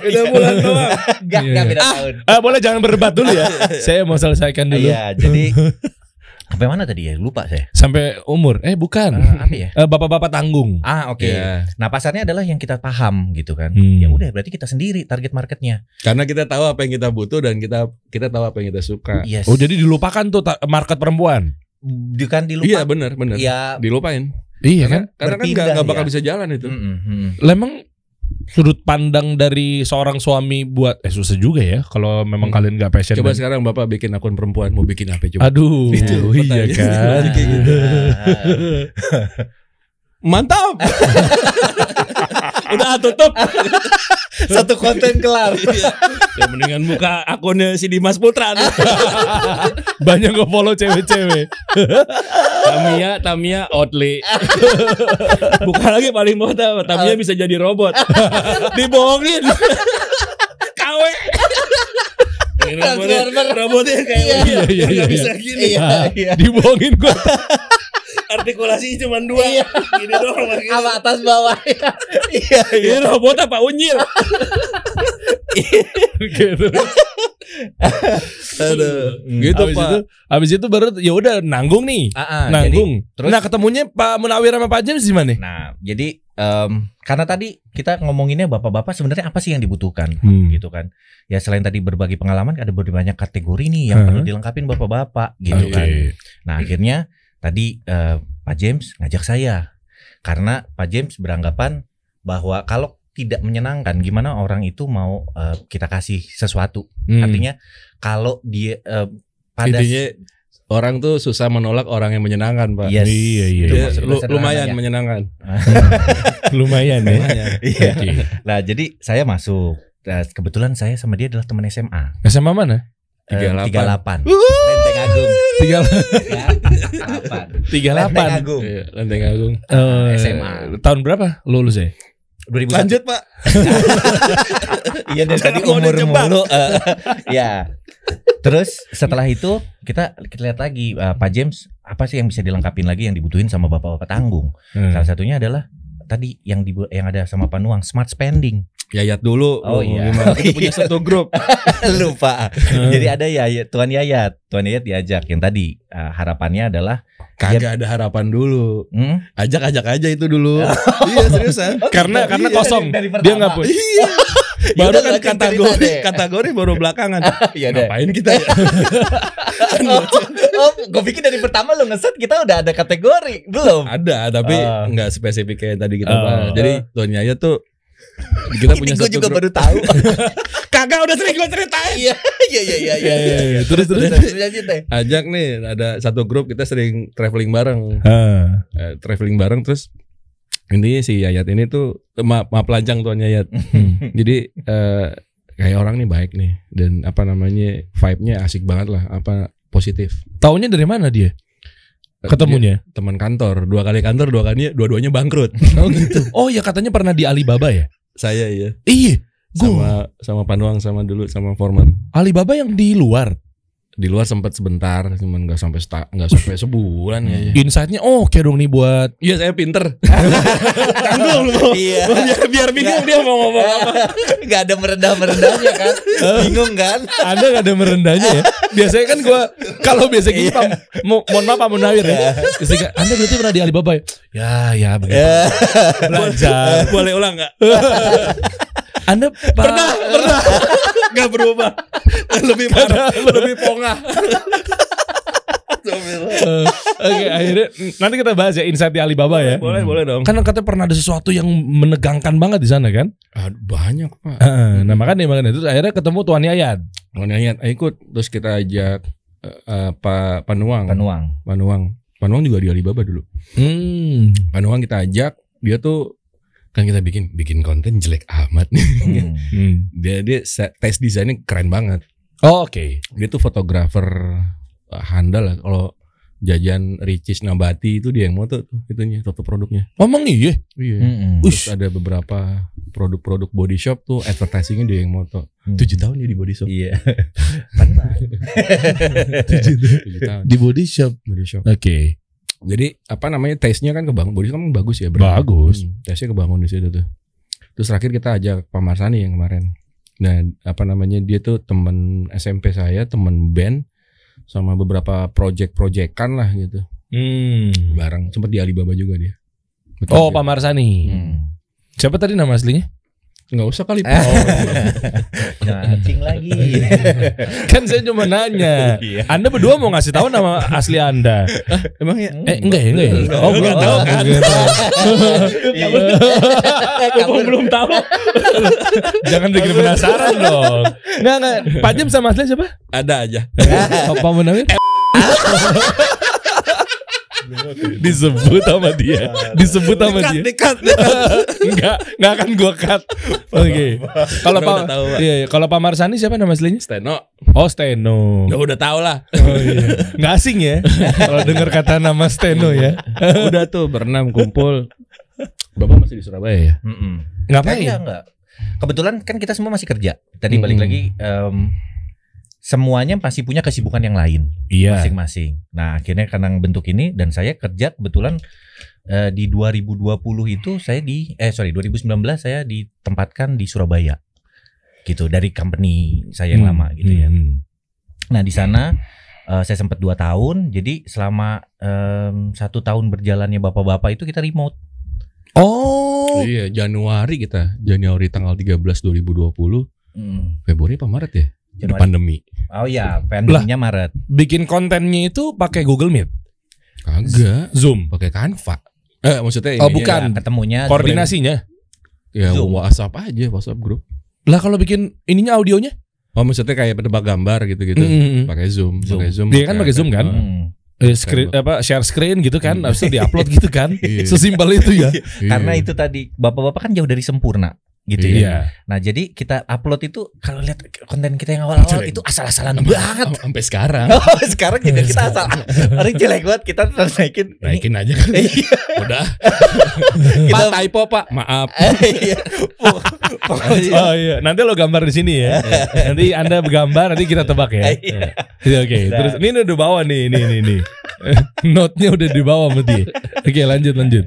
Speaker 1: Beda
Speaker 2: Iya.
Speaker 1: bulan doang.
Speaker 2: Enggak, enggak beda tahun.
Speaker 3: Ah, boleh jangan berdebat dulu ya. saya mau selesaikan dulu.
Speaker 2: Iya, jadi sampai mana tadi ya? Lupa saya.
Speaker 3: Sampai umur. Eh, bukan.
Speaker 2: Ah, apa ya?
Speaker 3: Eh, Bapak-bapak tanggung.
Speaker 2: Ah, oke.
Speaker 4: Iya.
Speaker 2: Nah, pasarnya adalah yang kita paham gitu kan.
Speaker 3: Hmm.
Speaker 2: Ya udah, berarti kita sendiri target marketnya.
Speaker 4: Karena kita tahu apa yang kita butuh dan kita kita tahu apa yang kita suka.
Speaker 2: Yes.
Speaker 3: Oh, jadi dilupakan tuh ta- market perempuan.
Speaker 2: Di- kan dilupa.
Speaker 4: Iya benar benar.
Speaker 2: Iya.
Speaker 4: Dilupain.
Speaker 3: Iya
Speaker 4: Karena, karena kan nggak
Speaker 2: Berpindah
Speaker 4: nggak bakal
Speaker 2: ya.
Speaker 4: bisa jalan itu.
Speaker 2: Mm-mm, mm-mm.
Speaker 3: kan? Lah, emang sudut pandang dari seorang suami buat eh susah juga ya kalau memang
Speaker 4: Hmm.
Speaker 3: kalian nggak passion.
Speaker 4: Coba
Speaker 3: dan-
Speaker 4: sekarang bapak bikin akun perempuan mau bikin apa coba?
Speaker 3: Aduh,
Speaker 4: Itu,
Speaker 3: iya
Speaker 4: pertanyaan.
Speaker 3: kan.
Speaker 2: Nah.
Speaker 4: Jadi kayak gitu. Mantap.
Speaker 1: Udah tutup.
Speaker 2: Satu konten kelar.
Speaker 1: ya mendingan buka akunnya si Dimas Putra. tuh.
Speaker 3: Banyak nge-follow cewek-cewek.
Speaker 1: Tamia, Tamia, Outlet. Bukan lagi paling bawah Tam- Tamia bisa jadi robot. Dibohongin. KW. Ini Robotnya, robotnya kayak
Speaker 3: Iya, iya, iya,
Speaker 1: Nggak
Speaker 3: iya.
Speaker 1: bisa gini.
Speaker 3: Ah,
Speaker 2: iya.
Speaker 3: Dibohongin gua. Iya.
Speaker 1: Artikulasi cuma dua. Gini doang. lagi.
Speaker 2: Sama atas bawah. Iya,
Speaker 1: Ini robot apa unyil?
Speaker 3: gitu.
Speaker 4: Gitu
Speaker 3: Abis
Speaker 4: pak.
Speaker 3: itu, abis itu baru ya udah nanggung nih.
Speaker 2: Ah, ah, jadi-
Speaker 3: nanggung.
Speaker 2: terus-
Speaker 3: nah ketemunya Pak Munawir sama Pak James di mana?
Speaker 2: Nah, jadi em, karena tadi kita ngomonginnya bapak-bapak sebenarnya apa sih yang dibutuhkan
Speaker 3: Hmm.
Speaker 2: gitu kan. Ya selain tadi berbagi pengalaman ada banyak kategori nih yang
Speaker 3: Hah?
Speaker 2: perlu dilengkapin bapak-bapak
Speaker 3: Hmm.
Speaker 2: gitu
Speaker 3: Oke.
Speaker 2: kan. Nah, akhirnya tadi eh, Pak James ngajak saya karena Pak James beranggapan bahwa kalau tidak menyenangkan gimana orang itu mau eh, kita kasih sesuatu.
Speaker 3: Hmm.
Speaker 2: Artinya kalau dia eh, pada
Speaker 4: Intinya orang tuh susah menolak orang yang menyenangkan pak.
Speaker 2: Yes.
Speaker 3: Iya, iya,
Speaker 2: Itu
Speaker 4: Dia
Speaker 2: maksud
Speaker 4: lu-
Speaker 2: sederhananya.
Speaker 4: lumayan menyenangkan.
Speaker 3: lumayan ya.
Speaker 4: Lumayan.
Speaker 2: Iya.
Speaker 3: Oke.
Speaker 2: Nah, jadi saya masuk. Nah, kebetulan saya sama dia adalah teman SMA.
Speaker 3: SMA mana?
Speaker 2: Eh,
Speaker 4: 38.
Speaker 2: 38. Lenteng Agung. Ya.
Speaker 3: Tiga
Speaker 2: 38.
Speaker 3: tiga
Speaker 2: Lenteng
Speaker 3: delapan.
Speaker 2: Agung.
Speaker 4: Iya, Lenteng Agung.
Speaker 3: Eh,
Speaker 2: SMA.
Speaker 3: Tahun berapa lulus ya?
Speaker 2: 2001.
Speaker 4: Lanjut pak.
Speaker 2: Iya dari tadi
Speaker 1: Mau
Speaker 2: umur
Speaker 1: dijebak.
Speaker 2: mulu. eh, ya. Terus setelah itu kita kita lihat lagi eh, Pak James apa sih yang bisa dilengkapin lagi yang dibutuhin sama bapak-bapak tanggung.
Speaker 3: Hmm.
Speaker 2: Salah satunya adalah tadi yang di yang ada sama Panuang smart spending.
Speaker 4: Yayat dulu.
Speaker 2: Oh,
Speaker 4: lu
Speaker 2: iya.
Speaker 4: gimana? Kita punya
Speaker 2: Iya.
Speaker 4: satu grup.
Speaker 3: Eh.
Speaker 2: Lupa.
Speaker 3: Hmm.
Speaker 2: Jadi ada Yayat, Tuan Yayat, Tuan Yayat diajak yang tadi eh, harapannya adalah
Speaker 4: Kagak ada harapan dulu.
Speaker 2: hmm,
Speaker 4: Ajak-ajak aja itu dulu. iya seriusan.
Speaker 3: Karena karena
Speaker 2: Iya,
Speaker 3: kosong.
Speaker 2: dari- dari
Speaker 3: Dia
Speaker 2: pertama.
Speaker 3: nggak punya.
Speaker 4: Iya.
Speaker 2: Yaudah,
Speaker 4: baru kan
Speaker 2: lanjut cerita
Speaker 4: kategori
Speaker 2: deh.
Speaker 4: kategori baru belakangan.
Speaker 2: Iya deh.
Speaker 4: Ngapain kita? ya?
Speaker 2: Oh, oh, gue pikir dari pertama lo ngeset kita udah ada kategori belum?
Speaker 4: Ada tapi
Speaker 2: Ah.
Speaker 4: nggak spesifik kayak tadi kita
Speaker 3: Ah.
Speaker 4: bahas. Jadi Tuan Yaya tuh kita punya
Speaker 2: Ini gue
Speaker 4: satu
Speaker 2: juga
Speaker 4: grup.
Speaker 2: baru tahu.
Speaker 1: Kagak udah sering gue ceritain.
Speaker 2: Iya, iya, iya, iya,
Speaker 3: Iya,
Speaker 2: iya.
Speaker 3: iya, iya. Terus terus.
Speaker 2: Terus, terus, lanjut deh.
Speaker 4: Ajak nih ada satu grup kita sering traveling bareng.
Speaker 3: Ah.
Speaker 4: Eh, traveling bareng terus intinya si Yayat ini tuh maaf maaf telanjang Tuan Yayat. Jadi eh, kayak orang nih baik nih dan apa namanya vibe-nya asik banget lah apa positif.
Speaker 3: Taunya dari mana dia? Ketemunya?
Speaker 4: Dia teman kantor dua kali kantor dua kali dua-duanya bangkrut.
Speaker 3: Oh gitu. Oh ya katanya pernah di Alibaba ya?
Speaker 4: Saya iya.
Speaker 3: Iya. Gua
Speaker 4: sama sama Panuang sama dulu sama Forman
Speaker 3: Alibaba yang di luar.
Speaker 4: di luar sempat sebentar cuman nggak sampai seta, nggak sampai sebulan ya
Speaker 3: Insightnya oh, oke dong nih buat
Speaker 4: iya saya pinter
Speaker 1: Tanggung lu.
Speaker 2: Iya.
Speaker 1: Biar, biar bingung dia mau ngomong apa.
Speaker 2: Gak ada merendah merendahnya kan? Bingung kan?
Speaker 3: Anda gak ada merendahnya ya. Biasanya kan gua kalau biasanya gini Pak, mo, mohon maaf Pak Munawir ya. Biasanya, Anda berarti pernah di Alibaba ya? Ya, ya begitu.
Speaker 2: Ya.
Speaker 3: Belajar.
Speaker 1: Boleh ulang nggak?
Speaker 3: Anda pernah
Speaker 1: Pernah. Gak berubah. Lebih parah, lebih pongah.
Speaker 3: Eh, Oke, akhirnya nanti kita bahas ya insight di Alibaba ya.
Speaker 1: Boleh, boleh dong.
Speaker 3: Kan katanya pernah ada sesuatu yang menegangkan banget di sana kan?
Speaker 4: Aduh, banyak pak
Speaker 3: Heeh,
Speaker 1: Hmm.
Speaker 3: nah makanya makanya terus akhirnya ketemu Tuan Yayat.
Speaker 4: mau nanya "Ayo ikut terus kita ajak eh, eh, Pak Panuang
Speaker 2: Panuang.
Speaker 4: Panuang Panuang juga di Alibaba dulu
Speaker 3: Hmm.
Speaker 4: Panuang kita ajak dia tuh kan kita bikin bikin konten jelek amat nih
Speaker 2: Hmm.
Speaker 4: dia dia se- tes desainnya keren banget
Speaker 3: Oh, Oke.
Speaker 4: dia tuh fotografer eh, handal lah kalau jajan Ricis Nabati itu dia yang moto tuh itunya foto produknya
Speaker 3: Ngomong iya.
Speaker 4: iya
Speaker 2: Hmm.
Speaker 3: Ush.
Speaker 4: Terus ada beberapa produk-produk body shop tuh advertisingnya dia yang moto.
Speaker 2: Hmm.
Speaker 4: Tujuh tahun ya di body shop.
Speaker 2: Iya. Pernah.
Speaker 4: Tujuh tahun
Speaker 3: di body shop.
Speaker 4: body shop.
Speaker 3: Oke.
Speaker 4: Jadi apa namanya taste-nya kan kebangun body shop kan bagus ya.
Speaker 3: Bagus.
Speaker 4: Hmm, taste-nya kebangun di situ tuh. Terus terakhir kita ajak Pak Marsani yang kemarin. Nah apa namanya dia tuh temen SMP saya, temen band sama beberapa project-projectan lah gitu
Speaker 3: Hmm.
Speaker 4: bareng. Sempat di Alibaba juga dia. Betul
Speaker 3: Oh,
Speaker 4: dia.
Speaker 3: Pak Marsani.
Speaker 2: Hmm.
Speaker 3: Siapa tadi nama aslinya?
Speaker 4: nggak usah kali.
Speaker 2: Eh.
Speaker 4: Pak. Oh,
Speaker 2: Ngacing lagi.
Speaker 3: Kan saya cuma nanya.
Speaker 2: Iya.
Speaker 3: Anda berdua mau ngasih tahu nama asli Anda?
Speaker 4: Emang ya?
Speaker 2: Hmm.
Speaker 3: Eh, enggak ya, enggak ya? Oh, belum
Speaker 1: Lu nggak
Speaker 3: tahu
Speaker 1: tahu kan?
Speaker 2: Iya.
Speaker 1: Mumpung belum tahu.
Speaker 3: Jangan bikin penasaran dong. Enggak, enggak. Pak Jim sama asli siapa?
Speaker 1: Ada aja.
Speaker 3: Apa menawir? disebut sama dia disebut sama dia
Speaker 1: Dekat.
Speaker 3: enggak enggak akan gua cut oke kalau
Speaker 1: Udah,
Speaker 3: pak
Speaker 1: udah tahu, Pak.
Speaker 3: iya, iya. kalau pak Marsani siapa nama aslinya
Speaker 1: Steno.
Speaker 3: oh Steno
Speaker 1: Ya udah tau lah.
Speaker 3: Oh, iya. Nggak asing ya kalau dengar kata nama Steno ya.
Speaker 4: Udah tuh berenam kumpul. Bapak masih di Surabaya ya?
Speaker 2: Mm-mm. Kayaknya
Speaker 3: Ngapain?
Speaker 2: enggak. Kebetulan kan kita semua masih kerja. Tadi balik
Speaker 4: Mm-mm.
Speaker 2: lagi em, semuanya masih punya kesibukan yang lain
Speaker 3: Iya.
Speaker 2: masing-masing. Nah, akhirnya karena bentuk ini dan saya kerja kebetulan eh, di 2020 itu saya di eh sorry 2019 saya ditempatkan di Surabaya. Gitu dari company saya yang
Speaker 3: Hmm,
Speaker 2: lama gitu ya.
Speaker 3: hmm.
Speaker 2: Nah, di sana eh, saya sempat dua tahun. Jadi selama em, satu tahun berjalannya bapak-bapak itu kita remote.
Speaker 3: Oh.
Speaker 4: Iya, Januari kita. Januari tanggal 13 2020,
Speaker 3: Hmm.
Speaker 4: Februari apa Maret ya? Di
Speaker 2: Januari.
Speaker 4: pandemi.
Speaker 2: Oh iya, pandeminya Maret.
Speaker 3: Bikin kontennya itu pakai Google Meet,
Speaker 4: Kagak,
Speaker 3: Zoom.
Speaker 4: pakai Canva. Eh, maksudnya
Speaker 3: Oh,
Speaker 4: ininya-
Speaker 3: bukan.
Speaker 2: Ya, ketemunya
Speaker 3: Koordinasinya.
Speaker 4: Ya,
Speaker 2: Zoom.
Speaker 4: WhatsApp aja, WhatsApp grup.
Speaker 3: Lah kalau bikin ininya audionya?
Speaker 4: Oh, maksudnya kayak penebak gambar
Speaker 3: Gitu.
Speaker 4: gitu-gitu.
Speaker 3: Mm-mm.
Speaker 4: Pakai Zoom,
Speaker 2: Zoom.
Speaker 4: pakai Zoom. Oh,
Speaker 3: Hmm. Dia kan pakai Zoom, kan?
Speaker 2: Hmm.
Speaker 3: Eh, screen- apa share screen gitu kan, habis itu diupload gitu kan.
Speaker 4: Iya.
Speaker 3: Sesimpel itu ya.
Speaker 4: Iya.
Speaker 2: Karena itu tadi bapak-bapak kan jauh dari sempurna gitu
Speaker 3: Iya.
Speaker 2: ya. Nah, jadi kita upload itu kalau lihat konten kita yang awal-awal
Speaker 4: Jelek.
Speaker 2: itu asal-asalan banget.
Speaker 4: Am- Ah, Sampai sekarang.
Speaker 2: Oh, sekarang juga kita asal Orang jelek banget kita terus naikin. Ini-
Speaker 4: Naikin aja kan.
Speaker 2: Iya,
Speaker 4: Udah.
Speaker 2: kita-
Speaker 4: typo, Pak. Maaf.
Speaker 2: Iya. Pokoknya-
Speaker 3: Oh iya, nanti lo gambar di sini ya. nanti Anda gambar nanti kita tebak ya.
Speaker 2: Iya.
Speaker 3: Iya, Oke,
Speaker 2: Nah.
Speaker 3: terus ini udah bawa nih, ini ini ini. Note-nya udah dibawa sama dia. Oke, lanjut lanjut.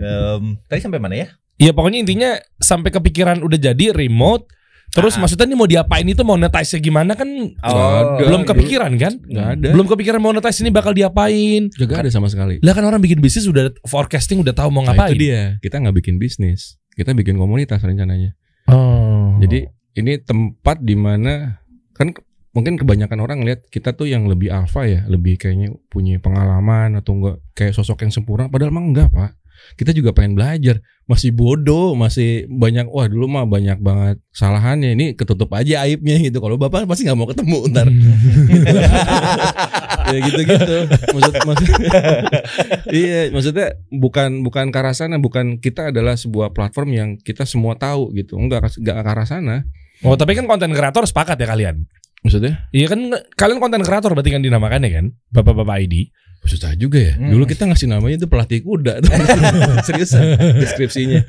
Speaker 2: Em, tadi sampai mana ya?
Speaker 3: Ya pokoknya intinya sampai kepikiran udah jadi remote Terus
Speaker 2: Ah.
Speaker 3: maksudnya ini mau diapain itu monetize gimana kan
Speaker 4: Oh, Ada.
Speaker 3: belum kepikiran kan?
Speaker 4: Nggak ada.
Speaker 3: Belum kepikiran monetize ini bakal diapain.
Speaker 4: Juga ada sama sekali.
Speaker 3: Lah kan orang bikin bisnis udah forecasting udah tahu mau
Speaker 4: Nah,
Speaker 3: ngapain.
Speaker 4: itu dia. Kita nggak bikin bisnis, kita bikin komunitas rencananya.
Speaker 3: Oh.
Speaker 4: Jadi ini tempat di mana kan ke- mungkin kebanyakan orang lihat kita tuh yang lebih alfa ya, lebih kayaknya punya pengalaman atau enggak kayak sosok yang sempurna. Padahal emang enggak pak. Kita juga pengen belajar, masih bodoh, masih banyak. Wah dulu mah banyak banget kesalahannya. Ini ketutup aja aibnya gitu. Kalau bapak pasti nggak mau ketemu ntar. ya gitu-gitu. Maksud, maksud, iya, maksudnya bukan bukan ke arah sana, bukan kita adalah sebuah platform yang kita semua tahu gitu. Enggak enggak ke arah sana.
Speaker 3: Oh, tapi kan konten kreator sepakat ya kalian.
Speaker 4: Maksudnya?
Speaker 3: Iya kan nge- kalian konten kreator berarti kan dinamakannya kan? Bapak-bapak ID.
Speaker 4: Susah juga ya.
Speaker 2: Hmm.
Speaker 4: Dulu kita ngasih namanya itu pelatih kuda. Seriusan deskripsinya.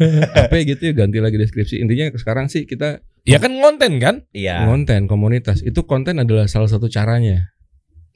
Speaker 4: Apa gitu ya ganti lagi deskripsi. Intinya sekarang sih kita
Speaker 3: Ya kan konten kan?
Speaker 2: Iya.
Speaker 4: konten komunitas. Itu konten adalah salah satu caranya.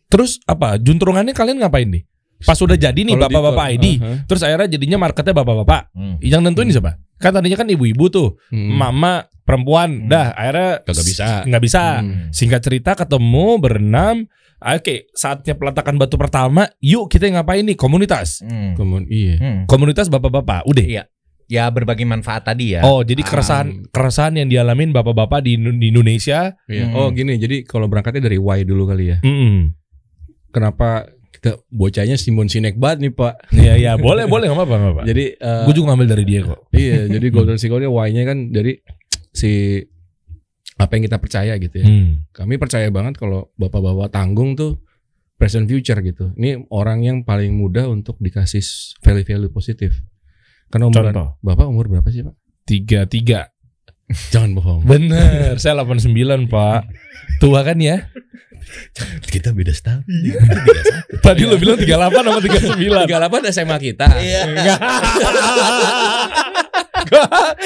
Speaker 3: Terus apa? Juntrungannya kalian ngapain nih? Pas udah jadi nih
Speaker 4: Kalau di-
Speaker 3: bapak-bapak ID.
Speaker 4: Aha.
Speaker 3: Terus akhirnya jadinya marketnya bapak-bapak.
Speaker 2: Hmm.
Speaker 3: Yang nentuin siapa? Kan tadinya kan ibu-ibu tuh,
Speaker 4: Hmm.
Speaker 3: mama, perempuan.
Speaker 2: Hmm.
Speaker 3: Dah, akhirnya
Speaker 4: Kagak bisa.
Speaker 3: Nggak bisa.
Speaker 4: Hmm.
Speaker 3: Singkat cerita ketemu berenam. Oke, saatnya peletakan batu pertama. Yuk kita ngapain nih? Komunitas.
Speaker 2: Hmm.
Speaker 4: Komun iya.
Speaker 2: Hmm.
Speaker 3: Komunitas bapak-bapak. Udah.
Speaker 2: Iya. Ya berbagi manfaat tadi ya.
Speaker 3: Oh, jadi keresahan keresahan yang dialamin bapak-bapak di, Indo- di Indonesia.
Speaker 4: Iya.
Speaker 2: Hmm.
Speaker 4: Oh gini, jadi kalau berangkatnya dari why dulu kali ya.
Speaker 3: Mm-mm.
Speaker 4: Kenapa kita bocahnya Simon Sinek banget nih Pak.
Speaker 3: Iya iya boleh boleh nggak apa-apa nggak apa-apa.
Speaker 4: Jadi eh,
Speaker 3: gue juga ngambil dari dia kok.
Speaker 4: iya, jadi Golden Circle nya why-nya kan dari si apa yang kita percaya gitu ya.
Speaker 3: Hmm.
Speaker 4: kami percaya banget kalau bapak-bapak tanggung tuh present future gitu. Ini orang yang paling mudah untuk dikasih value-value positif. Karena umuran
Speaker 3: Contoh
Speaker 4: bapak umur berapa sih pak?
Speaker 3: tiga tiga.
Speaker 4: Jangan bohong.
Speaker 3: Bener, saya 89 pak. Tua kan ya?
Speaker 4: Kita beda setahun.
Speaker 3: Tadi lo bilang 38 sama
Speaker 4: 38
Speaker 3: 39
Speaker 4: SMA kita.
Speaker 2: Iya.
Speaker 3: Enggak.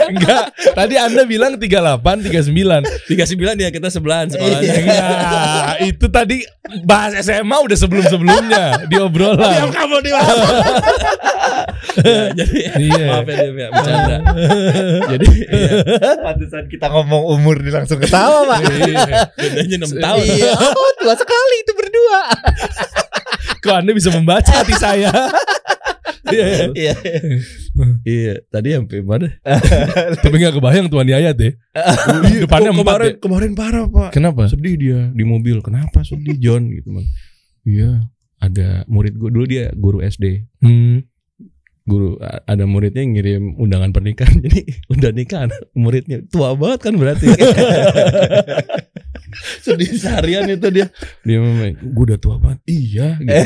Speaker 3: Enggak. Tadi Anda bilang 38, 39.
Speaker 1: 39 ya kita sebelahan sekolahnya.
Speaker 3: Enggak. Itu tadi bahas SMA udah sebelum-sebelumnya di obrolan.
Speaker 1: kamu di ya, jadi
Speaker 3: Iya.
Speaker 1: maaf ya Dim ya, bercanda. jadi iya,
Speaker 2: Pantesan kita ngomong umur dia langsung ketawa pak.
Speaker 1: bedanya 6 tahun.
Speaker 2: Iya, oh, tua sekali itu berdua.
Speaker 3: Kok Anda bisa membaca hati saya? Iya.
Speaker 2: Iya.
Speaker 1: Iya, tadi sampai mana?
Speaker 3: Tapi gak kebayang Tuan Yayat ya. deh. Depannya
Speaker 4: Oh,
Speaker 3: empat
Speaker 4: kemarin
Speaker 3: deh.
Speaker 4: kemarin parah pak
Speaker 3: Kenapa?
Speaker 4: sedih dia di mobil kenapa sedih John gitu man iya ada murid gue dulu dia guru SD
Speaker 3: Hmm.
Speaker 4: guru a- ada muridnya yang ngirim undangan pernikahan jadi udah nikah anak muridnya tua banget kan berarti sedih seharian itu dia dia memang gue udah tua banget iya gitu.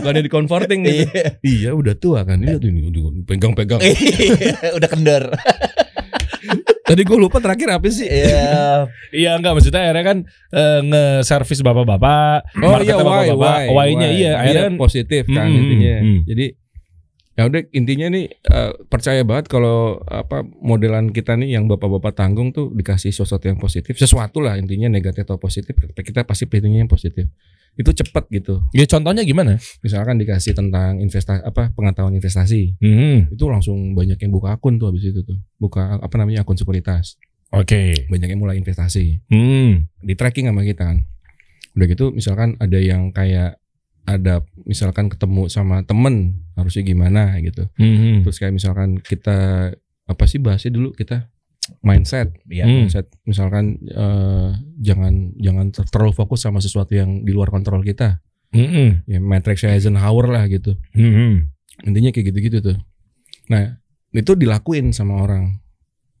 Speaker 4: bukannya di comforting gitu iya udah tua kan iya tuh ini tuh, pegang-pegang
Speaker 2: Iya. Udah kendor.
Speaker 4: tadi gue lupa terakhir apa sih
Speaker 2: Iya.
Speaker 3: Iya enggak maksudnya akhirnya kan eh, nge-service bapak-bapak,
Speaker 4: Oh, iya,
Speaker 3: marketnya bapak-bapak, why-nya iya, akhirnya
Speaker 4: akhirnya
Speaker 3: kan
Speaker 4: positif kan
Speaker 3: Mm,
Speaker 4: intinya.
Speaker 3: mm.
Speaker 4: Jadi ya udah intinya nih eh, percaya banget kalau apa modelan kita nih yang bapak-bapak tanggung tuh dikasih sesuatu yang positif, sesuatu lah intinya negatif atau positif kita pasti pilihnya yang positif. Itu cepet gitu.
Speaker 3: ya contohnya gimana?
Speaker 4: Misalkan dikasih tentang investasi apa pengetahuan investasi,
Speaker 3: Hmm.
Speaker 4: itu langsung banyak yang buka akun tuh habis itu tuh. Buka apa namanya akun sekuritas.
Speaker 3: Oke.
Speaker 4: Banyak yang mulai investasi
Speaker 3: Hmm.
Speaker 4: di tracking sama kita kan. Udah gitu misalkan ada yang kayak ada misalkan ketemu sama temen harusnya gimana gitu.
Speaker 3: Hmm.
Speaker 4: Terus kayak misalkan kita apa sih bahasnya dulu kita mindset,
Speaker 3: Hmm.
Speaker 4: mindset misalkan eh, jangan jangan ter- terlalu fokus sama sesuatu yang di luar kontrol kita.
Speaker 3: Hmm.
Speaker 4: Ya matrix Eisenhower lah gitu.
Speaker 3: Hmm.
Speaker 4: Intinya kayak gitu-gitu tuh. Nah, itu dilakuin sama orang.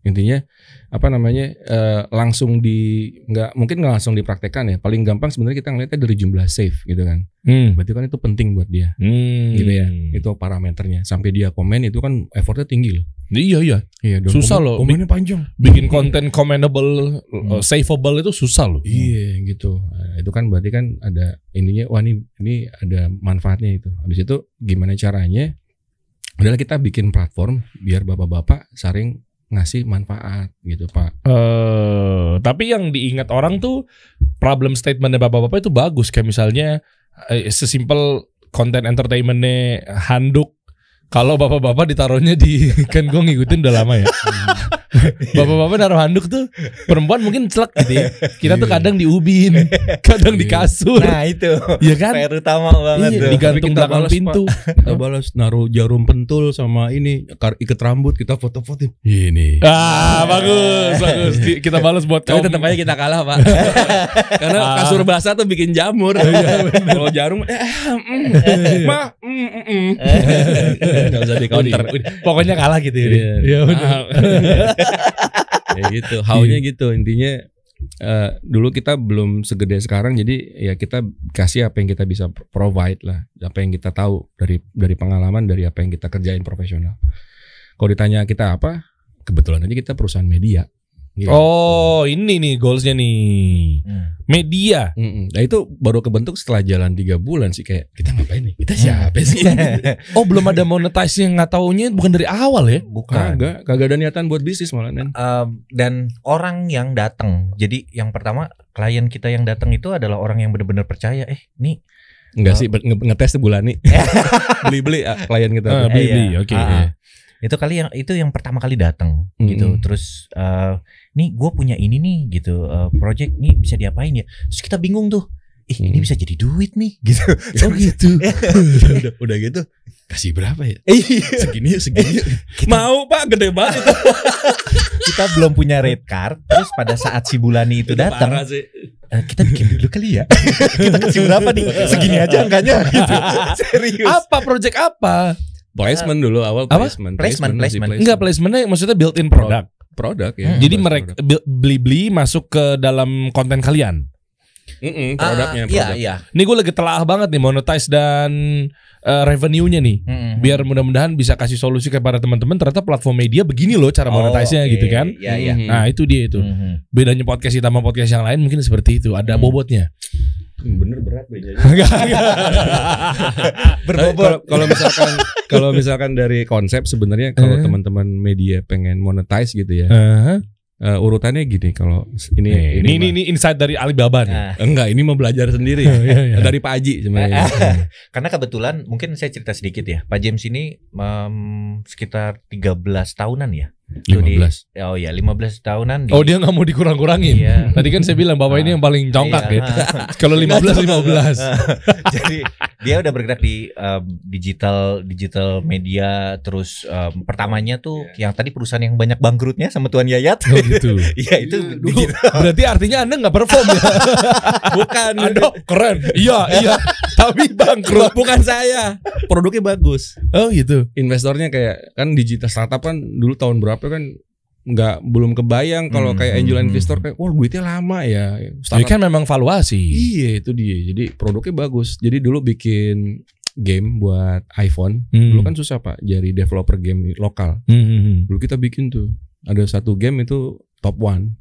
Speaker 4: Intinya apa namanya eh, langsung di nggak mungkin nggak langsung dipraktekkan ya. Paling gampang sebenarnya kita ngeliatnya dari jumlah save gitu kan.
Speaker 3: Hmm.
Speaker 4: Berarti kan itu penting buat dia.
Speaker 3: Hmm.
Speaker 4: Gitu ya. Itu parameternya. Sampai dia komen itu kan effortnya tinggi loh.
Speaker 3: Iya iya.
Speaker 4: Iya,
Speaker 3: dong. Susah loh.
Speaker 4: Komennya panjang.
Speaker 3: Bikin konten commendable, uh, saveable itu susah
Speaker 4: Hmm.
Speaker 3: loh.
Speaker 4: Iya gitu. Nah, itu kan berarti kan ada ininya wah ini ini ada manfaatnya itu. Habis itu gimana caranya? Adalah kita bikin platform biar bapak-bapak saring ngasih manfaat gitu, Pak.
Speaker 3: eh tapi yang diingat orang tuh problem statementnya bapak-bapak itu bagus kayak misalnya eh, sesimpel konten entertainmentnya handuk kalau bapak-bapak ditaruhnya di kan gue ngikutin udah lama ya
Speaker 4: Iya.
Speaker 3: bapak-bapak naruh handuk tuh perempuan mungkin celak gitu ya kita tuh
Speaker 4: Iya.
Speaker 3: kadang di ubin kadang di
Speaker 4: Iya.
Speaker 3: kasur
Speaker 2: Nah itu.
Speaker 3: ya kan
Speaker 2: PR utama banget
Speaker 3: Iya,
Speaker 2: tuh.
Speaker 3: digantung
Speaker 4: Tapi kita
Speaker 3: belakang
Speaker 4: balas,
Speaker 3: pintu
Speaker 4: Kita balas naruh jarum pentul sama ini kar- ikat rambut kita foto-foto. Ini.
Speaker 3: ah bagus bagus Di- kita balas buat Ah.
Speaker 1: Iya. Tapi
Speaker 3: kaum-
Speaker 1: tetap aja kita kalah, Pak. Karena kasur basah tuh bikin jamur.
Speaker 3: Oh, iya,
Speaker 1: Kalau jarum eh mm, ma mm, mm, mm. Nggak usah di counter.
Speaker 3: pokoknya kalah gitu ya
Speaker 4: Iya.
Speaker 3: Iya, bener.
Speaker 1: Ah.
Speaker 4: ya gitu haunya gitu intinya eh, dulu kita belum segede sekarang jadi ya kita kasih apa yang kita bisa provide lah apa yang kita tahu dari dari pengalaman dari apa yang kita kerjain profesional kalau ditanya kita apa kebetulan aja kita perusahaan media Gitu.
Speaker 3: Oh ini nih goalsnya nih
Speaker 2: Hmm.
Speaker 3: media.
Speaker 4: Mm-mm. Nah itu baru kebentuk setelah jalan tiga bulan sih kayak kita ngapain nih? Kita siapa sih?
Speaker 3: Oh belum ada monetasi yang nggak taunya bukan dari awal ya?
Speaker 2: Bukan.
Speaker 4: kagak, kagak ada niatan buat bisnis malah Nen.
Speaker 2: Um, dan orang yang datang. Jadi yang pertama klien kita yang datang itu adalah orang yang benar-benar percaya. Eh, nih.
Speaker 4: Enggak sih ber- nge- ngetes tuh bulan nih. Beli-beli ah, klien kita.
Speaker 3: Ah, beli, beli,
Speaker 2: Iya.
Speaker 3: oke.
Speaker 2: Ah, ah. Itu kali yang itu yang pertama kali datang
Speaker 4: Mm-mm.
Speaker 2: gitu. Terus uh, nih gue punya ini nih gitu. Uh, project nih bisa diapain ya? Terus kita bingung tuh. Ih, ini
Speaker 4: Mm.
Speaker 2: bisa jadi duit nih gitu.
Speaker 4: Oh gitu. udah, udah gitu. Kasih berapa ya? Segini yuk, segini yuk.
Speaker 1: Iya. Mau, Pak, gede banget itu.
Speaker 2: kita belum punya red card. Terus pada saat si Bulani itu datang,
Speaker 1: Parah sih.
Speaker 2: Eh, kita bikin dulu kali ya. kita kasih berapa nih? Segini aja angkanya gitu. Serius.
Speaker 3: Apa project apa?
Speaker 4: Placement dulu awal
Speaker 3: Apa?
Speaker 4: placement.
Speaker 2: Placement,
Speaker 4: masih
Speaker 1: Iya.
Speaker 2: placement.
Speaker 3: Enggak placementnya maksudnya built in product.
Speaker 4: Produk ya.
Speaker 2: Hmm.
Speaker 3: Jadi mereka beli beli masuk ke dalam konten kalian.
Speaker 4: Mm-mm, produknya
Speaker 2: Ah, iya,
Speaker 4: produk.
Speaker 2: iya.
Speaker 3: Ini gue lagi telah banget nih monetize dan eh, revenue-nya nih.
Speaker 2: Mm-mm.
Speaker 3: Biar mudah-mudahan bisa kasih solusi kepada teman-teman. Ternyata platform media begini loh cara monetize-nya
Speaker 2: Oh,
Speaker 3: gitu
Speaker 2: oke.
Speaker 3: kan.
Speaker 2: Iya, iya.
Speaker 4: Mhm.
Speaker 3: Nah itu dia itu.
Speaker 2: Mhm.
Speaker 3: Bedanya podcast kita sama podcast yang lain mungkin seperti itu. Ada
Speaker 2: Hmm.
Speaker 3: bobotnya.
Speaker 1: Bener berat bejanya.
Speaker 4: Kalau kalau misalkan kalau misalkan dari konsep sebenarnya kalau
Speaker 3: Eh.
Speaker 4: teman-teman media pengen monetize gitu ya.
Speaker 3: Heeh.
Speaker 4: eh, urutannya gini kalau ini
Speaker 3: Uh-huh. Ya, ini ini,
Speaker 4: mah-
Speaker 3: ini insight dari Alibaba nih.
Speaker 2: Nah,
Speaker 4: enggak ini mau belajar sendiri
Speaker 3: iya, iya.
Speaker 4: dari Pak Aji sebenarnya. Hmm.
Speaker 2: karena kebetulan mungkin saya cerita sedikit ya. Pak James ini em, sekitar 13 tahunan ya. Itu di-
Speaker 4: 15.
Speaker 2: Oh ya, 15 tahunan di
Speaker 3: Oh dia nggak mau dikurang-kurangin.
Speaker 2: Iya.
Speaker 3: Tadi kan saya bilang bapak ini yang paling congkak
Speaker 2: Iya,
Speaker 3: gitu. Kalau 15 15.
Speaker 2: Jadi dia udah bergerak di um, digital digital media terus um, pertamanya tuh yang tadi perusahaan yang banyak bangkrutnya sama Tuan Yayat.
Speaker 3: Oh gitu.
Speaker 2: Iya itu
Speaker 3: Dulu,
Speaker 2: digital.
Speaker 3: berarti artinya Anda nggak perform ya?
Speaker 4: Bukan.
Speaker 3: Anda keren. Iya, iya. Tapi bangkrut.
Speaker 4: Bukan saya. Produknya bagus.
Speaker 3: Oh gitu.
Speaker 4: Investornya kayak kan digital startup kan dulu tahun berapa kan nggak belum kebayang kalau
Speaker 2: Hmm,
Speaker 4: kayak angel
Speaker 2: hmm,
Speaker 4: investor kayak wah duitnya lama ya.
Speaker 3: Tapi
Speaker 4: Startup
Speaker 3: kan memang valuasi.
Speaker 4: Iya itu dia. Jadi produknya bagus. Jadi dulu bikin game buat iPhone.
Speaker 3: Hmm.
Speaker 4: Dulu kan susah pak, jadi developer game lokal.
Speaker 3: Hmm, hmm, hmm.
Speaker 4: Dulu kita bikin tuh ada satu game itu top one.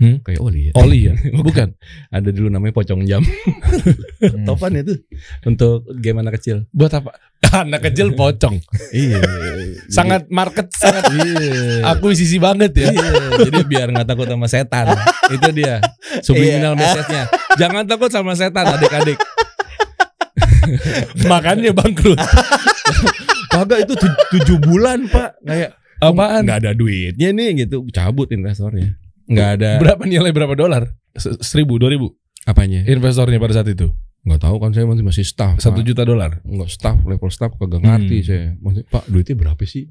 Speaker 3: Hmm.
Speaker 4: Kayak Oli ya.
Speaker 3: Oli ya? Bukan.
Speaker 4: Ada dulu namanya Pocong Jam.
Speaker 2: Hmm.
Speaker 4: top one itu Iya. untuk game anak kecil.
Speaker 3: Buat apa? Anak kecil pocong.
Speaker 4: iya.
Speaker 3: Sangat market sangat
Speaker 4: Iya.
Speaker 3: akuisisi banget ya.
Speaker 4: Iya, jadi biar nggak takut sama setan. itu dia subliminal message-nya. Jangan takut sama setan adik-adik.
Speaker 3: Makanya bangkrut.
Speaker 4: Kagak itu tu- tujuh bulan pak kayak
Speaker 3: Apaan?
Speaker 4: nggak ada duitnya nih gitu cabut investornya nggak ada
Speaker 3: Berapa nilai berapa dolar? Se- Seribu, dua ribu.
Speaker 4: apanya
Speaker 3: Investornya pada saat itu
Speaker 4: nggak tahu kan saya masih masih staff
Speaker 3: satu
Speaker 4: Pak.
Speaker 3: juta dolar.
Speaker 4: nggak staff level staff kagak ngerti
Speaker 3: Hmm.
Speaker 4: saya Maksudnya, pak duitnya berapa sih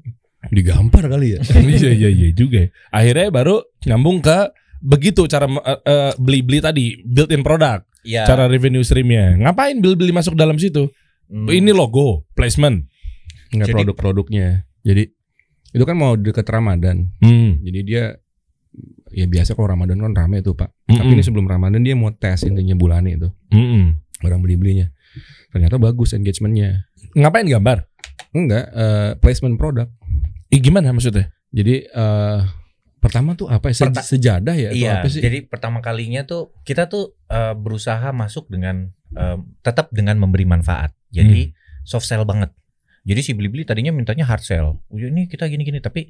Speaker 4: digampar kali ya
Speaker 3: iya iya iya juga. ya. Akhirnya baru nyambung ke begitu cara eh, eh, beli-beli tadi built-in product,
Speaker 4: Ya.
Speaker 2: Iya.
Speaker 3: cara revenue streamnya. Ngapain beli-beli masuk dalam situ?
Speaker 2: Hmm.
Speaker 3: Ini logo, placement.
Speaker 4: nggak
Speaker 2: Jadi-
Speaker 4: produk-produknya jadi itu kan mau deket Ramadan
Speaker 3: Hmm,
Speaker 4: jadi dia ya biasa kalau Ramadan kan rame tuh pak tapi
Speaker 3: Mm-mm.
Speaker 4: ini sebelum Ramadan dia mau tes intinya bulannya itu
Speaker 3: Mm-mm.
Speaker 4: barang beli belinya ternyata bagus engagementnya
Speaker 3: Ngapain gambar?
Speaker 4: enggak eh, placement produk
Speaker 3: Ih, gimana maksudnya?
Speaker 4: Jadi eh pertama tuh apa ya? Se-
Speaker 2: Perta-
Speaker 4: sejadah ya atau
Speaker 2: Iya,
Speaker 4: apa sih?
Speaker 2: jadi pertama kalinya tuh kita tuh eh, berusaha masuk dengan em, tetap dengan memberi manfaat. Jadi soft sell banget. Jadi si Blibli tadinya mintanya hard sell. Oh, ini kita gini-gini tapi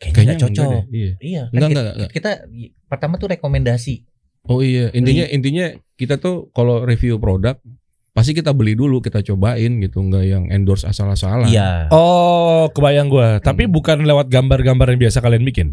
Speaker 2: kayaknya, nggak cocok.
Speaker 4: enggak deh, Iya.
Speaker 2: Iya, kan
Speaker 4: Enggak,
Speaker 2: kita,
Speaker 4: enggak, enggak.
Speaker 2: kita i- pertama tuh rekomendasi.
Speaker 4: Oh iya, intinya intinya kita tuh kalau review produk pasti kita beli dulu, kita cobain gitu, enggak yang endorse asal-asalan.
Speaker 2: Iya,
Speaker 3: Oh, kebayang gua. Tapi
Speaker 4: Hmm.
Speaker 3: bukan lewat gambar-gambar yang biasa kalian bikin.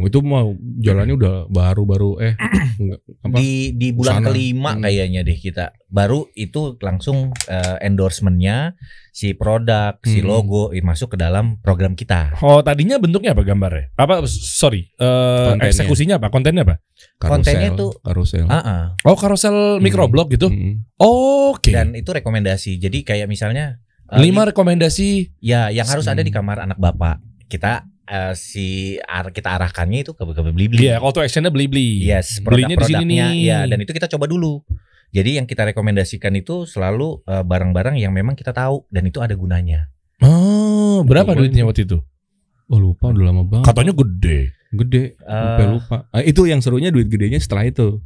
Speaker 4: Oh, itu mau jalannya udah baru-baru eh enggak,
Speaker 3: Oh,
Speaker 4: apa?
Speaker 2: Di di bulan
Speaker 4: Busana.
Speaker 2: kelima
Speaker 4: Hmm.
Speaker 2: kayaknya deh kita. Baru itu langsung eh, endorsementnya si produk, si
Speaker 4: Hmm.
Speaker 2: logo eh, masuk ke dalam program kita.
Speaker 3: Oh, tadinya bentuknya apa gambarnya? Apa sorry, eh,
Speaker 4: Kontennya.
Speaker 3: eksekusinya apa? Kontennya apa?
Speaker 2: kontennya
Speaker 4: Karusel,
Speaker 2: tuh-
Speaker 4: karusel.
Speaker 2: Ah, ah.
Speaker 3: Oh, karosel microblog gitu.
Speaker 4: Mm-mm.
Speaker 3: Oke.
Speaker 2: dan itu rekomendasi. Jadi kayak misalnya eh,
Speaker 3: Lima rekomendasi
Speaker 2: ya yang harus ada di
Speaker 4: Hmm.
Speaker 2: kamar anak bapak. Kita eh, si ar- kita arahkannya itu ke ke Blibli.
Speaker 3: Iya, call to actionnya beli-beli.
Speaker 2: Yes,
Speaker 3: Belinya di sini
Speaker 2: produk-produknya.
Speaker 3: nih.
Speaker 2: Ya, dan itu kita coba dulu. Jadi yang kita rekomendasikan itu selalu eh, barang-barang yang memang kita tahu dan itu ada gunanya.
Speaker 3: Oh, berapa
Speaker 4: Lupa
Speaker 3: duitnya
Speaker 4: itu.
Speaker 3: waktu itu?
Speaker 4: Oh, lupa udah lama banget.
Speaker 3: Katanya gede.
Speaker 4: gede sampai
Speaker 2: Eh.
Speaker 4: lupa Ah, itu yang serunya duit gedenya setelah itu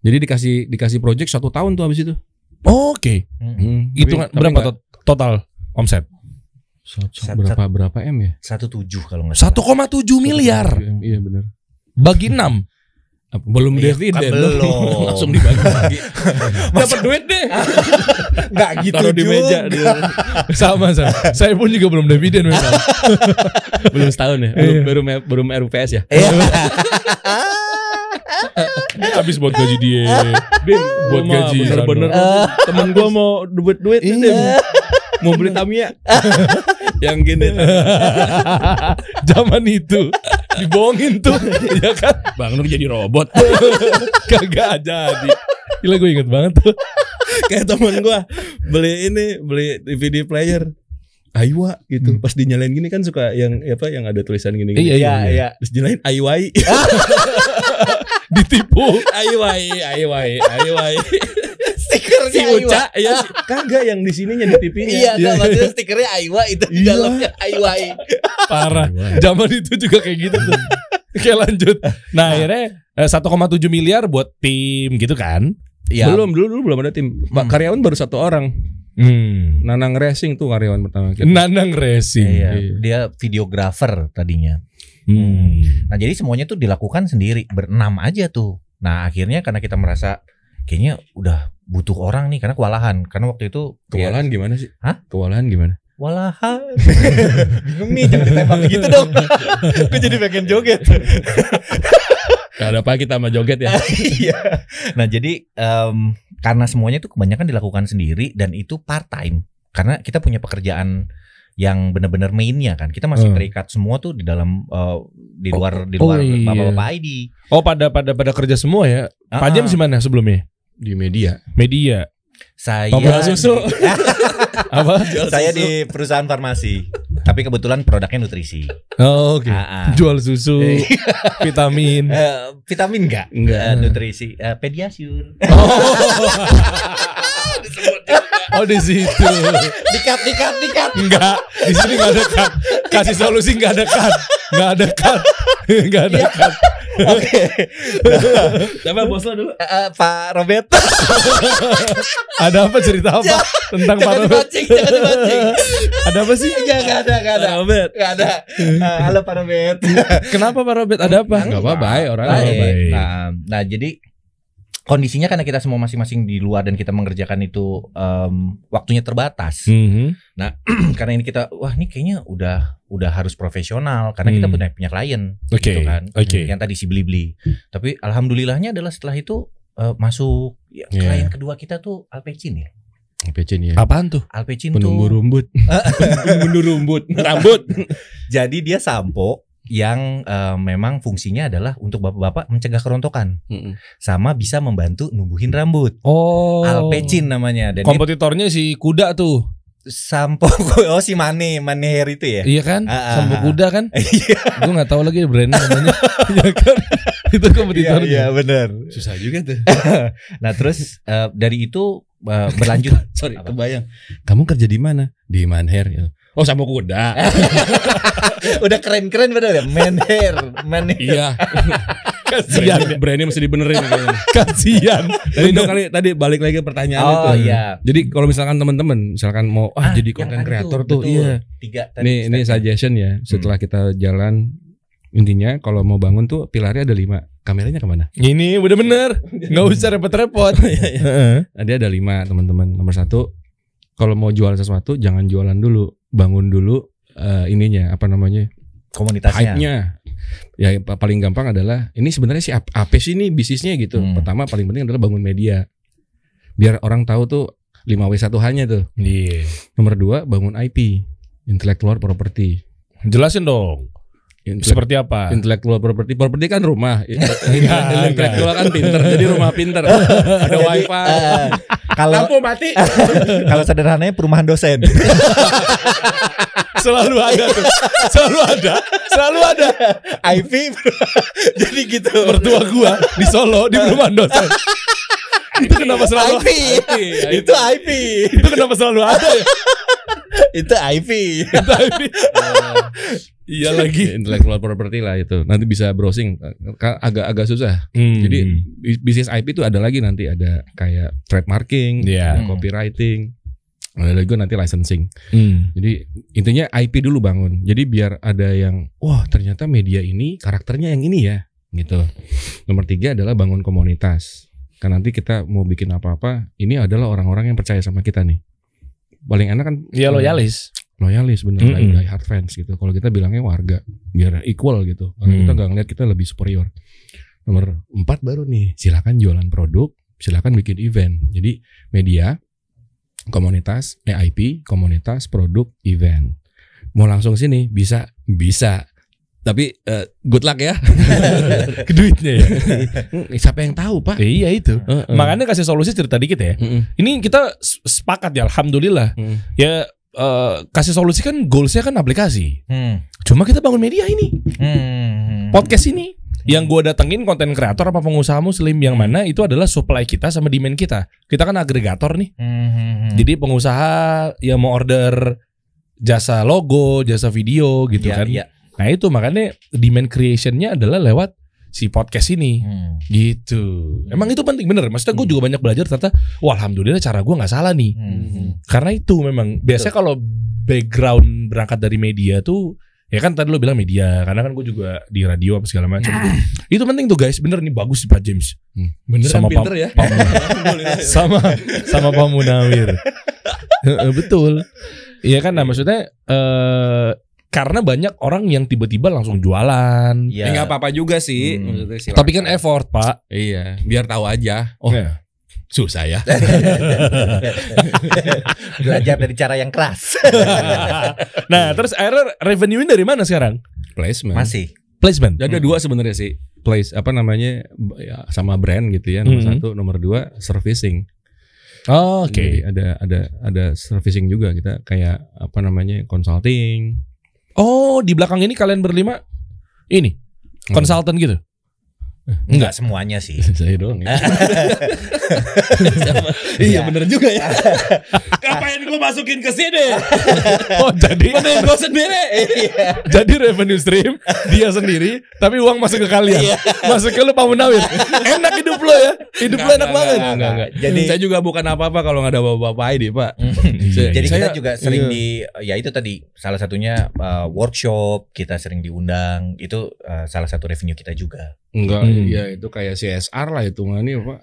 Speaker 4: jadi dikasih dikasih project satu tahun tuh habis itu
Speaker 3: Oke.
Speaker 2: Eh, mm,
Speaker 4: Hmm.
Speaker 3: Itu
Speaker 4: Tapi- tapi
Speaker 3: berapa
Speaker 4: nggak-
Speaker 3: tot- total omset?
Speaker 4: Sat- sat-
Speaker 2: Sat-
Speaker 4: berapa berapa m ya?
Speaker 2: Satu tujuh kalau nggak salah.
Speaker 3: 1,7 miliar
Speaker 4: 1,7 M, Iya benar.
Speaker 3: bagi 6.
Speaker 4: Apa- Belum
Speaker 2: Iya,
Speaker 4: dividen.
Speaker 2: kan belum.
Speaker 4: Langsung dibagi.
Speaker 3: Dapat duit deh.
Speaker 2: Nggak gitu
Speaker 4: Taruh di meja. dia.
Speaker 3: sama sama. Saya pun juga belum dividen memang.
Speaker 4: belum setahun ya. Belum
Speaker 3: Iya.
Speaker 4: baru me- belum RUPS ya.
Speaker 2: Iya,
Speaker 3: Eh, Habis buat gaji dia. Dia buat
Speaker 4: Gua mah
Speaker 3: gaji.
Speaker 4: Bener-bener temen gua mau duit duit nih, Dem. Mau beli Tamiya. Yang gini.
Speaker 3: Zaman itu dibohongin tuh, ya kan? Bang Nur jadi robot. Kagak jadi. Gila gue inget banget tuh.
Speaker 4: Kayak temen gua beli ini, beli DVD player. Aiwa gitu. Pas dinyalain gini kan suka yang apa yang ada tulisan gini gini.
Speaker 3: Iya, iya.
Speaker 4: Terus nyalain Aiwai.
Speaker 3: Ditipu.
Speaker 4: Aiwai, aiwai, aiwai.
Speaker 2: Stikernya
Speaker 4: Si
Speaker 2: Aiwa.
Speaker 4: Uca ya si- kagak yang di sininya di TV-nya.
Speaker 2: Iya, nggak, maksudnya stikernya Aiwa itu
Speaker 4: Iya.
Speaker 2: di dalamnya Aiwa.
Speaker 3: Parah. Zaman itu juga kayak gitu tuh. Oke lanjut. Nah akhirnya eh, 1,7 miliar buat tim gitu kan.
Speaker 2: ya
Speaker 4: Belum dulu dulu belum ada tim. Pak
Speaker 2: Hmm.
Speaker 4: karyawan baru satu orang.
Speaker 3: Hmm.
Speaker 4: Nanang Racing tuh karyawan pertama kita.
Speaker 3: Nanang Racing.
Speaker 2: iya, dia videographer tadinya
Speaker 3: Hmm.
Speaker 2: Nah jadi semuanya tuh dilakukan sendiri berenam aja tuh. Nah akhirnya karena kita merasa kayaknya udah butuh orang nih karena kewalahan karena waktu itu ya,
Speaker 4: Kewalahan gimana sih?
Speaker 2: Hah?
Speaker 4: Kewalahan gimana?
Speaker 2: Walahan. Bingung nih jangan ditembak begitu dong. Gue jadi pengen joget.
Speaker 4: Gak ada apa kita sama joget ya.
Speaker 2: Iya. nah jadi em, karena semuanya itu kebanyakan dilakukan sendiri dan itu part time karena kita punya pekerjaan yang benar-benar mainnya kan kita masih
Speaker 4: Hmm.
Speaker 2: terikat semua tuh di dalam eh, di luar di
Speaker 3: Oh,
Speaker 2: luar
Speaker 3: iya.
Speaker 2: bapak-bapak ID.
Speaker 3: Oh pada pada pada kerja semua ya.
Speaker 2: Ah,
Speaker 3: Pak Jam
Speaker 2: ah.
Speaker 3: sih mana sebelumnya?
Speaker 4: Di media.
Speaker 3: Media.
Speaker 2: Saya
Speaker 3: Pembela susu. Apa?
Speaker 2: saya di perusahaan farmasi tapi kebetulan produknya nutrisi
Speaker 3: Oh, Oke.
Speaker 2: Ah, ah.
Speaker 3: Jual susu,
Speaker 2: Eh.
Speaker 3: vitamin.
Speaker 2: Eh, vitamin enggak
Speaker 4: Enggak.
Speaker 2: Eh, nutrisi Eh, pediasyur
Speaker 3: Oh di situ.
Speaker 2: dikat dikat dikat
Speaker 3: Enggak. Di sini enggak ada cut. Kasih solusi enggak ada cut. Enggak ada cut. Enggak ada cut.
Speaker 2: oke
Speaker 1: Coba bos lo dulu.
Speaker 2: Nah. Eh, eh, pak Robert
Speaker 3: Ada apa cerita apa tentang Pak
Speaker 2: jangan
Speaker 3: Robert?
Speaker 2: dipancing jangan dipancing
Speaker 3: Ada apa sih?
Speaker 2: enggak enggak ada enggak ada
Speaker 1: Robert.
Speaker 2: enggak ada Eh, halo pak Robert
Speaker 3: Kenapa Pak Robert? Ada apa?
Speaker 4: Enggak apa-apa ya orang.
Speaker 2: Baik.
Speaker 3: baik.
Speaker 2: Nah, nah, jadi kondisinya karena kita semua masing-masing di luar dan kita mengerjakan itu em, waktunya terbatas
Speaker 3: Mhm.
Speaker 2: karena ini kita wah ini kayaknya udah udah harus profesional karena kita
Speaker 3: Hmm.
Speaker 2: punya punya klien
Speaker 3: Oke.
Speaker 2: gitu kan
Speaker 3: Oke.
Speaker 2: yang tadi si beli-beli tapi alhamdulillahnya adalah setelah itu eh, masuk ya,
Speaker 4: Iya.
Speaker 2: klien kedua kita tuh Alpecin ya
Speaker 4: Pecin ya.
Speaker 3: Apaan tuh?
Speaker 2: Alpecin
Speaker 4: Penumbu
Speaker 2: tuh
Speaker 4: rumput. Penumbu rumput. Rambut.
Speaker 2: jadi dia sampo yang eh, memang fungsinya adalah untuk bapak-bapak mencegah kerontokan sama bisa membantu numbuhin rambut
Speaker 3: Oh.
Speaker 2: Alpecin namanya dan dia
Speaker 3: Kompetitornya si kuda tuh.
Speaker 2: sampo oh si Mane Mane Hair itu ya
Speaker 3: Iya kan?
Speaker 2: Ah, ah,
Speaker 3: Sampo
Speaker 2: ah.
Speaker 3: kuda kan?
Speaker 2: Iya,
Speaker 3: gue nggak tahu lagi brandnya namanya ya kan itu
Speaker 2: iya
Speaker 3: kompetitornya
Speaker 2: iya benar
Speaker 4: Susah juga tuh.
Speaker 2: nah terus eh, dari itu eh, berlanjut
Speaker 4: Sorry,
Speaker 2: Apa?
Speaker 4: kebayang. Kamu kerja di mana? Di Manher. ya. Oh, sama kuda.
Speaker 2: udah keren-keren benar ya Man Hair Man Hair.
Speaker 4: iya.
Speaker 3: kasihan
Speaker 4: Brandnya, Iya, brandnya mesti dibenerin. kayaknya.
Speaker 3: kasihan
Speaker 4: Tadi dong kali tadi balik lagi ke pertanyaan itu.
Speaker 2: Iya. oh iya
Speaker 4: Jadi kalau misalkan teman-teman misalkan mau ah,
Speaker 2: Ah,
Speaker 4: jadi
Speaker 2: yang
Speaker 4: konten
Speaker 2: tadi
Speaker 4: kreator
Speaker 2: tuh,
Speaker 4: tuh,
Speaker 2: betul.
Speaker 4: iya.
Speaker 2: tiga tadi Hmm.
Speaker 4: Ini ini
Speaker 2: statement.
Speaker 4: suggestion ya. Setelah kita jalan intinya kalau mau bangun tuh pilarnya ada lima. Kameranya kemana?
Speaker 3: ini udah bener nggak usah repot-repot
Speaker 4: Nah, Dia ada lima teman-teman. Nomor satu, kalau mau jual sesuatu jangan jualan dulu, bangun dulu eh, ininya apa namanya
Speaker 2: komunitasnya
Speaker 4: hype-nya. Ya pa- paling gampang adalah ini sebenarnya sih ap- apa sih ini bisnisnya gitu.
Speaker 2: Hmm.
Speaker 4: Pertama paling penting adalah bangun media. Biar orang tahu tuh 5W1H-nya tuh.
Speaker 3: Iya.
Speaker 4: Nomor dua, bangun IP, intellectual property.
Speaker 3: jelasin dong
Speaker 4: Intellect-
Speaker 3: seperti apa Iya,
Speaker 4: Intellectual property, property kan rumah.
Speaker 3: enggak.
Speaker 4: Intellectual
Speaker 3: iya.
Speaker 4: kan pinter, jadi rumah pinter. Ada
Speaker 2: Jadi,
Speaker 4: wifi.
Speaker 2: eh, kalau
Speaker 3: Oh,
Speaker 4: Lampu mati.
Speaker 2: kalau sederhananya perumahan dosen
Speaker 3: selalu ada tuh selalu ada selalu ada
Speaker 2: IP jadi gitu
Speaker 3: mertua gua di Solo di perumahan dosen itu kenapa selalu
Speaker 2: IP itu IP
Speaker 3: itu kenapa selalu ada ya
Speaker 2: itu IP
Speaker 3: Tapi- iya lagi
Speaker 4: Intellectual property lah itu. Nanti bisa browsing. Ka- Agak-agak susah.
Speaker 3: Hmm.
Speaker 4: Jadi bis- bisnis IP itu ada lagi nanti ada kayak trademarking,
Speaker 3: Iya.
Speaker 4: ada copywriting, ada lagi nanti licensing.
Speaker 3: Hmm.
Speaker 4: Jadi intinya IP dulu bangun. Jadi biar ada yang wah ternyata media ini karakternya yang ini ya gitu. Nomor tiga adalah bangun komunitas. Kan nanti kita mau bikin apa-apa, ini adalah orang-orang yang percaya sama kita nih. Paling enak kan
Speaker 3: ya loyalis
Speaker 4: loyalis bener
Speaker 3: Mm-mm.
Speaker 4: die- die hard fans gitu. Kalau kita bilangnya warga biar equal gitu. Karena
Speaker 3: Mm.
Speaker 4: kita nggak ngeliat kita lebih superior. Nomor empat baru nih silakan jualan produk, silakan bikin event. Jadi media, komunitas, EIP, komunitas, produk, event. Mau langsung sini bisa bisa. Tapi eh, good luck ya.
Speaker 3: duitnya ya
Speaker 4: Hmm, Siapa yang tahu pak?
Speaker 3: iya itu
Speaker 4: Heeh.
Speaker 3: makanya kasih solusi cerita dikit ya
Speaker 4: Mm-mm.
Speaker 3: ini kita s- sepakat ya alhamdulillah
Speaker 4: Mm.
Speaker 3: ya eh, kasih solusi kan goalsnya kan aplikasi
Speaker 2: hmm.
Speaker 3: cuma kita bangun media ini
Speaker 2: Hmm.
Speaker 3: podcast ini yang gua datengin konten kreator apa pengusaha muslim yang mana itu adalah supply kita sama demand kita kita kan agregator nih
Speaker 2: Hmm.
Speaker 3: jadi pengusaha yang mau order jasa logo jasa video gitu
Speaker 2: Iya,
Speaker 3: kan
Speaker 2: iya.
Speaker 3: nah itu makanya demand creationnya adalah lewat si podcast ini
Speaker 2: Hmm.
Speaker 3: gitu. Emang itu penting bener. Maksudnya gue juga banyak belajar ternyata. Wah alhamdulillah cara gue nggak salah nih.
Speaker 2: Hmm.
Speaker 3: Karena itu memang biasanya kalau background berangkat dari media tuh ya kan tadi lo bilang media karena kan gue juga di radio apa segala macam. itu penting tuh guys bener nih bagus Pak James.
Speaker 4: Bener
Speaker 3: Sama
Speaker 4: kan pinter ya.
Speaker 3: sama sama Pak Munawir. Heeh, Eh, Betul. Iya kan nah maksudnya eh karena banyak orang yang tiba-tiba langsung jualan.
Speaker 4: Ya nggak apa-apa juga sih.
Speaker 2: Hmm.
Speaker 4: maksudnya silakan.
Speaker 3: Tapi kan effort, Pak.
Speaker 4: Iya, biar tahu aja. Oh,
Speaker 3: Ya. Susah ya.
Speaker 2: Belajar dari cara yang keras.
Speaker 3: nah, terus akhirnya revenue dari mana sekarang?
Speaker 4: placement.
Speaker 2: Masih.
Speaker 3: Placement. Hmm.
Speaker 4: Ada dua sebenarnya sih. Place apa namanya b- ya, sama brand gitu ya. Nomor
Speaker 3: Hmm.
Speaker 4: satu, nomor dua servicing.
Speaker 3: Oh, Oke.
Speaker 4: Jadi ada ada ada servicing juga kita kayak apa namanya consulting.
Speaker 3: Oh, di belakang ini kalian berlima ini
Speaker 4: Hmm.
Speaker 3: konsultan gitu.
Speaker 2: Enggak semuanya sih.
Speaker 4: Saya doang ya.
Speaker 2: Iya,
Speaker 3: bener juga ya.
Speaker 4: Ngapain gue masukin ke sini?
Speaker 3: Oh, jadi
Speaker 4: gue sendiri.
Speaker 2: Iya,
Speaker 3: jadi revenue stream dia sendiri tapi uang masuk ke
Speaker 4: Iya.
Speaker 3: kalian. masuk ke lu Pak Munawir. Enak hidup lo ya. Hidup lo enak banget.
Speaker 2: enggak, enggak.
Speaker 4: Jadi
Speaker 2: Jadi- Hmm.
Speaker 4: saya juga bukan apa-apa kalau nggak ada bapak-bapak ID, Pak.
Speaker 3: Nah, gitu.
Speaker 4: Saya-
Speaker 2: Jadi
Speaker 4: saya-
Speaker 2: kita juga sering di ya itu tadi salah satunya uh, workshop kita sering diundang itu uh, salah satu revenue kita juga.
Speaker 4: Enggak,
Speaker 3: Hmm.
Speaker 4: ya itu kayak CSR lah hitungannya, Pak.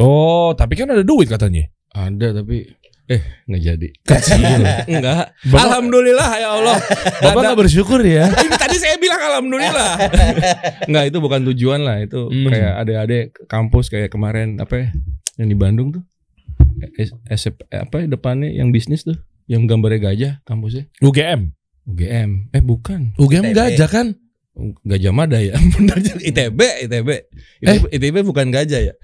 Speaker 3: Oh, tapi kan ada duit katanya.
Speaker 4: Ada tapi eh nggak jadi. Enggak.
Speaker 3: Bapak-
Speaker 4: Alhamdulillah ya Allah.
Speaker 3: Bapak
Speaker 4: Ada-
Speaker 3: nggak bersyukur ya?
Speaker 4: Ini tadi saya bilang alhamdulillah. Enggak, itu bukan tujuan lah, itu
Speaker 3: Hmm.
Speaker 4: kayak adik-adik kampus kayak kemarin apa ya? Yang di Bandung tuh. S- S- apa ya depannya yang bisnis tuh, yang gambarnya gajah kampusnya.
Speaker 3: UGM.
Speaker 4: UGM. Eh bukan.
Speaker 3: UGM
Speaker 2: ITB.
Speaker 3: gajah kan?
Speaker 4: Gajah Mada ya. Bener, ITB, ITB.
Speaker 3: Eh.
Speaker 4: ITB, ITB bukan gajah ya?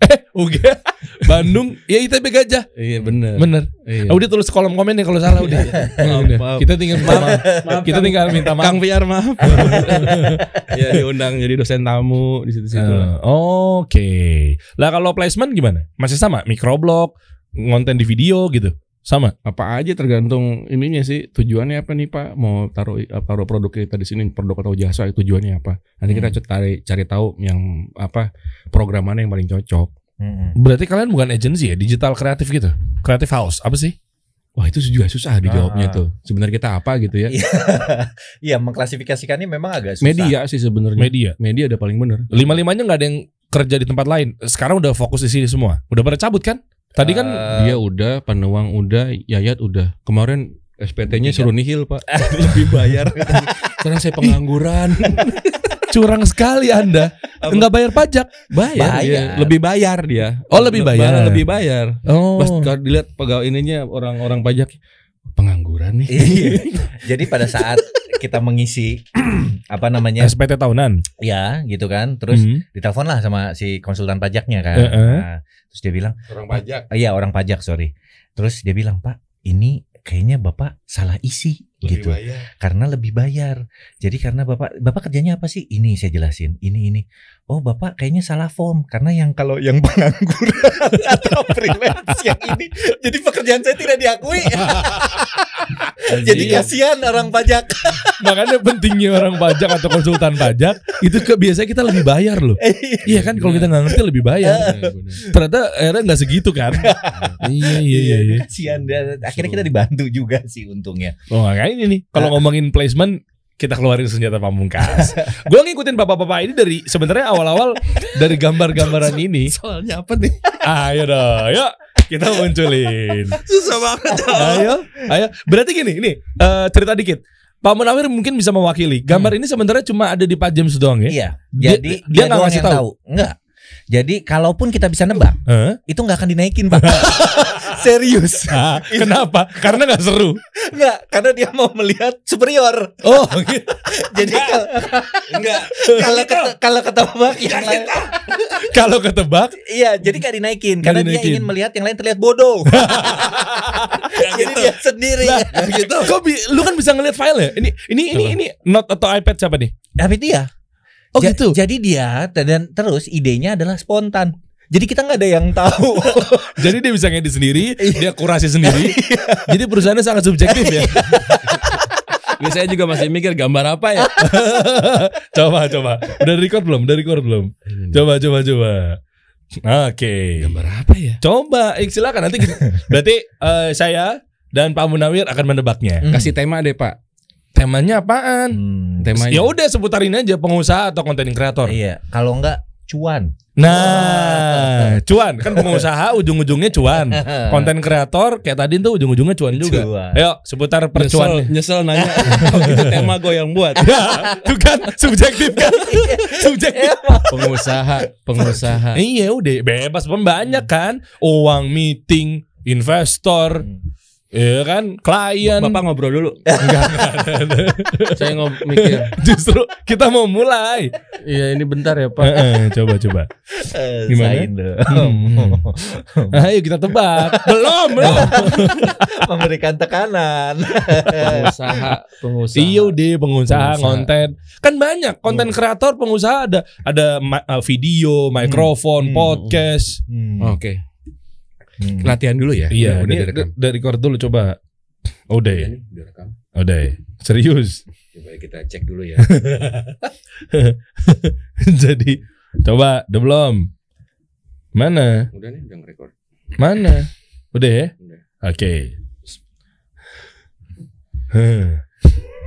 Speaker 3: UGM Bandung ya ITB gajah.
Speaker 4: Iya bener.
Speaker 3: Bener.
Speaker 4: Iya.
Speaker 3: Ah, udah tulis kolom komen ya kalau salah udah.
Speaker 4: Maaf,
Speaker 3: Udah.
Speaker 4: maaf.
Speaker 3: Kita tinggal minta maaf. Kita tinggal minta maaf.
Speaker 4: Kang Piar maaf. ya diundang jadi dosen tamu di situ-situ. Gitu lah.
Speaker 3: Eh, Oke. Lah kalau placement gimana? Masih sama microblog, konten di video gitu. Sama.
Speaker 4: Apa aja tergantung ininya sih tujuannya apa nih Pak? Mau taruh taruh produk kita di sini produk atau jasa tujuannya apa? Nanti kita
Speaker 3: Hmm.
Speaker 4: cari cari tahu yang apa program mana yang paling cocok.
Speaker 2: Mm-mm.
Speaker 3: Berarti kalian bukan agency ya, digital kreatif gitu. Kreatif house apa sih?
Speaker 4: Wah itu juga susah dijawabnya
Speaker 2: Ah.
Speaker 4: tuh. Sebenarnya kita apa gitu ya?
Speaker 2: Iya, Iya mengklasifikasikannya memang agak susah.
Speaker 4: Media sih sebenarnya.
Speaker 3: Media.
Speaker 4: Media ada paling bener.
Speaker 3: Lima-limanya nggak ada yang kerja di tempat lain. Sekarang udah fokus di sini semua. Udah pada cabut kan? Tadi kan
Speaker 2: Eh,
Speaker 4: Dia udah, Panuang udah, Yayat udah. Kemarin SPT-nya
Speaker 2: Iya.
Speaker 4: suruh nihil Pak. Lebih bayar. Karena saya pengangguran.
Speaker 3: curang sekali Anda. Nggak bayar pajak.
Speaker 4: Bayar,
Speaker 2: Bayar.
Speaker 4: dia. lebih bayar dia.
Speaker 3: Oh,
Speaker 4: Le-
Speaker 3: lebih bayar.
Speaker 4: malah Lebih bayar.
Speaker 3: Oh.
Speaker 4: Pas kalau dilihat pegawai ininya orang-orang pajak pengangguran nih.
Speaker 2: Iya. Jadi pada saat kita mengisi apa namanya
Speaker 3: SPT tahunan.
Speaker 2: ya gitu kan, terus
Speaker 3: Hmm.
Speaker 2: ditelepon lah sama si konsultan pajaknya kan.
Speaker 3: Heeh.
Speaker 2: Nah, terus dia bilang,
Speaker 4: Orang pajak.
Speaker 2: "Oh, iya orang pajak sorry. Terus dia bilang Pak, ini kayaknya bapak salah isi gitu karena lebih bayar. Jadi karena bapak bapak kerjanya apa sih? Ini saya jelasin. Ini ini. Oh bapak kayaknya salah form karena yang kalau yang pengangguran atau freelance yang ini, jadi pekerjaan saya tidak diakui. jadi
Speaker 3: Iya.
Speaker 2: kasihan orang pajak.
Speaker 3: kan Makanya pentingnya orang pajak atau konsultan pajak itu ke biasanya kita lebih bayar loh. Iya kan kalau kita nggak ngerti lebih bayar.
Speaker 4: Eh.
Speaker 3: Ternyata akhirnya nggak segitu kan. iya iya iya. iya.
Speaker 2: Kasihan dia. Akhirnya kita dibantu juga sih untungnya.
Speaker 3: Oh makanya ini nih. Kalau ngomongin placement kita keluarin senjata pamungkas. Gue ngikutin bapak-bapak ini dari sebenarnya awal-awal dari gambar-gambaran ini. Ah,
Speaker 4: Soalnya apa nih?
Speaker 3: Ayo dong, yuk kita munculin. Nah,
Speaker 4: Susah banget.
Speaker 3: Ayo, ayo. Berarti gini, ini eh, cerita dikit. Pak Munawir mungkin bisa mewakili. Gambar ini sebenarnya cuma ada di Pak James doang ya.
Speaker 2: Iya.
Speaker 3: Dia-
Speaker 2: Jadi
Speaker 3: dia
Speaker 2: dia,
Speaker 3: nggak
Speaker 2: doang
Speaker 3: ngasih
Speaker 2: yang
Speaker 3: tahu.
Speaker 2: Enggak. Jadi kalaupun kita bisa nebak,
Speaker 3: Hah?
Speaker 2: itu nggak akan dinaikin pak. Serius.
Speaker 3: Ah, kenapa? Karena nggak seru.
Speaker 2: Enggak, karena dia mau melihat superior.
Speaker 3: Oh, gitu.
Speaker 2: Jadi kalau enggak kalau kete- kalau ketebak yang lain
Speaker 3: kalau ketebak,
Speaker 2: iya, jadi gak dinaikin
Speaker 3: Nggak
Speaker 2: karena dia
Speaker 3: dinaikin. Nah,
Speaker 2: ingin melihat yang lain terlihat bodoh. jadi dia sendiri.
Speaker 3: gitu. Kok bi- lu kan bisa ngelihat file ya? Ini, ini, ini, ini not atau iPad siapa nih?
Speaker 2: Tapi dia.
Speaker 3: Oh, gitu.
Speaker 2: Jadi dia dan terus idenya adalah spontan. Jadi kita nggak ada yang tahu.
Speaker 3: Jadi dia bisa
Speaker 4: Iya.
Speaker 3: ngedit sendiri, dia kurasi sendiri. Jadi perusahaannya sangat subjektif ya.
Speaker 4: Saya juga masih mikir gambar apa ya.
Speaker 3: coba coba. Udah record belum? Udah record belum? Coba coba coba. Oke.
Speaker 4: Iya. Gambar apa ya?
Speaker 3: Coba, eh, silakan nanti kita- berarti eh, saya dan Pak Munawir akan menebaknya.
Speaker 4: Kasih tema deh Pak.
Speaker 3: Temanya apaan?
Speaker 2: Hmm.
Speaker 4: Temanya.
Speaker 3: Ya udah seputarin aja pengusaha atau konten kreator.
Speaker 2: Iya, kalau enggak cuan.
Speaker 3: Nah, cuan kan pengusaha ujung-ujungnya cuan. Konten kreator kayak tadi tuh ujung-ujungnya cuan juga.
Speaker 2: Cuan.
Speaker 3: Ayo seputar
Speaker 4: Nyesel,
Speaker 3: percuan.
Speaker 4: nyesel nanya "Oh, itu tema gue yang buat
Speaker 3: Ya, itu kan subjektif kan.
Speaker 2: Eh,
Speaker 3: subjektif.
Speaker 4: pengusaha pengusaha
Speaker 3: Iya udah bebas pun banyak
Speaker 4: Hmm.
Speaker 3: kan. Uang meeting, investor, ya kan, klien.
Speaker 4: Bapak ngobrol dulu saya ngob mikir
Speaker 3: Justru kita mau mulai.
Speaker 4: iya ini bentar ya Pak
Speaker 3: Heeh, coba coba.
Speaker 2: Eh,
Speaker 3: Gimana?
Speaker 2: sign the-
Speaker 3: Nah, Ayo kita tebak. Oh, belum, belum.
Speaker 2: Memberikan tekanan.
Speaker 4: pengusaha pengusaha
Speaker 3: Iya deh pengusaha
Speaker 4: Pengusaha.
Speaker 3: konten. Kan banyak konten kreator pengusaha ada ada ma- uh, video, mikrofon,
Speaker 2: Hmm.
Speaker 3: podcast.
Speaker 2: Hmm.
Speaker 4: oke
Speaker 2: Hmm.
Speaker 4: latihan dulu ya
Speaker 3: Iya,
Speaker 4: udah
Speaker 3: ini
Speaker 4: direkam
Speaker 3: d- dari record dulu coba. Udah ya,
Speaker 4: Ini direkam
Speaker 3: udah ya. Serius.
Speaker 4: coba kita cek dulu ya
Speaker 3: Jadi coba, udah belum? Mana?
Speaker 4: udah nih udah ngerekord
Speaker 3: Mana? Udah ya?
Speaker 4: Udah.
Speaker 3: Oke. Heh.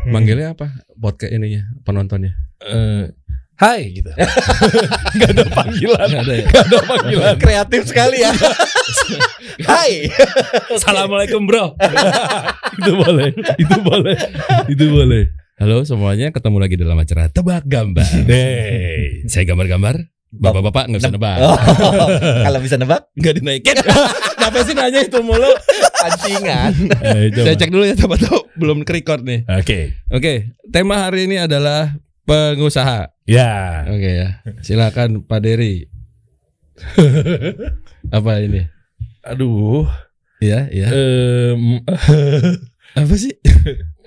Speaker 4: manggilnya apa podcast ininya penontonnya
Speaker 3: Eh, Hai gitu. Gak ada panggilan.
Speaker 4: Nggak ada ya?
Speaker 3: Gak ada panggilan.
Speaker 2: Kreatif sekali ya. Hai.
Speaker 4: assalamualaikum bro
Speaker 3: itu boleh. Itu boleh. Itu boleh.
Speaker 4: halo semuanya ketemu lagi dalam acara tebak gambar
Speaker 3: Hey.
Speaker 4: saya gambar-gambar bapak-bapak nggak bisa nebak
Speaker 2: Oh, kalau bisa nebak
Speaker 4: nggak dinaikin kenapa sih nanya itu mulu
Speaker 2: pancingan.
Speaker 3: Eh, coba.
Speaker 4: saya cek dulu ya siapa tahu belum ke record nih
Speaker 3: Oke.
Speaker 4: Oke, tema hari ini adalah pengusaha.
Speaker 3: Ya.
Speaker 4: Oke ya, silakan Pak Dery. Apa ini?
Speaker 3: Aduh.
Speaker 4: Ya, ya.
Speaker 3: Em, eh.
Speaker 4: Apa sih?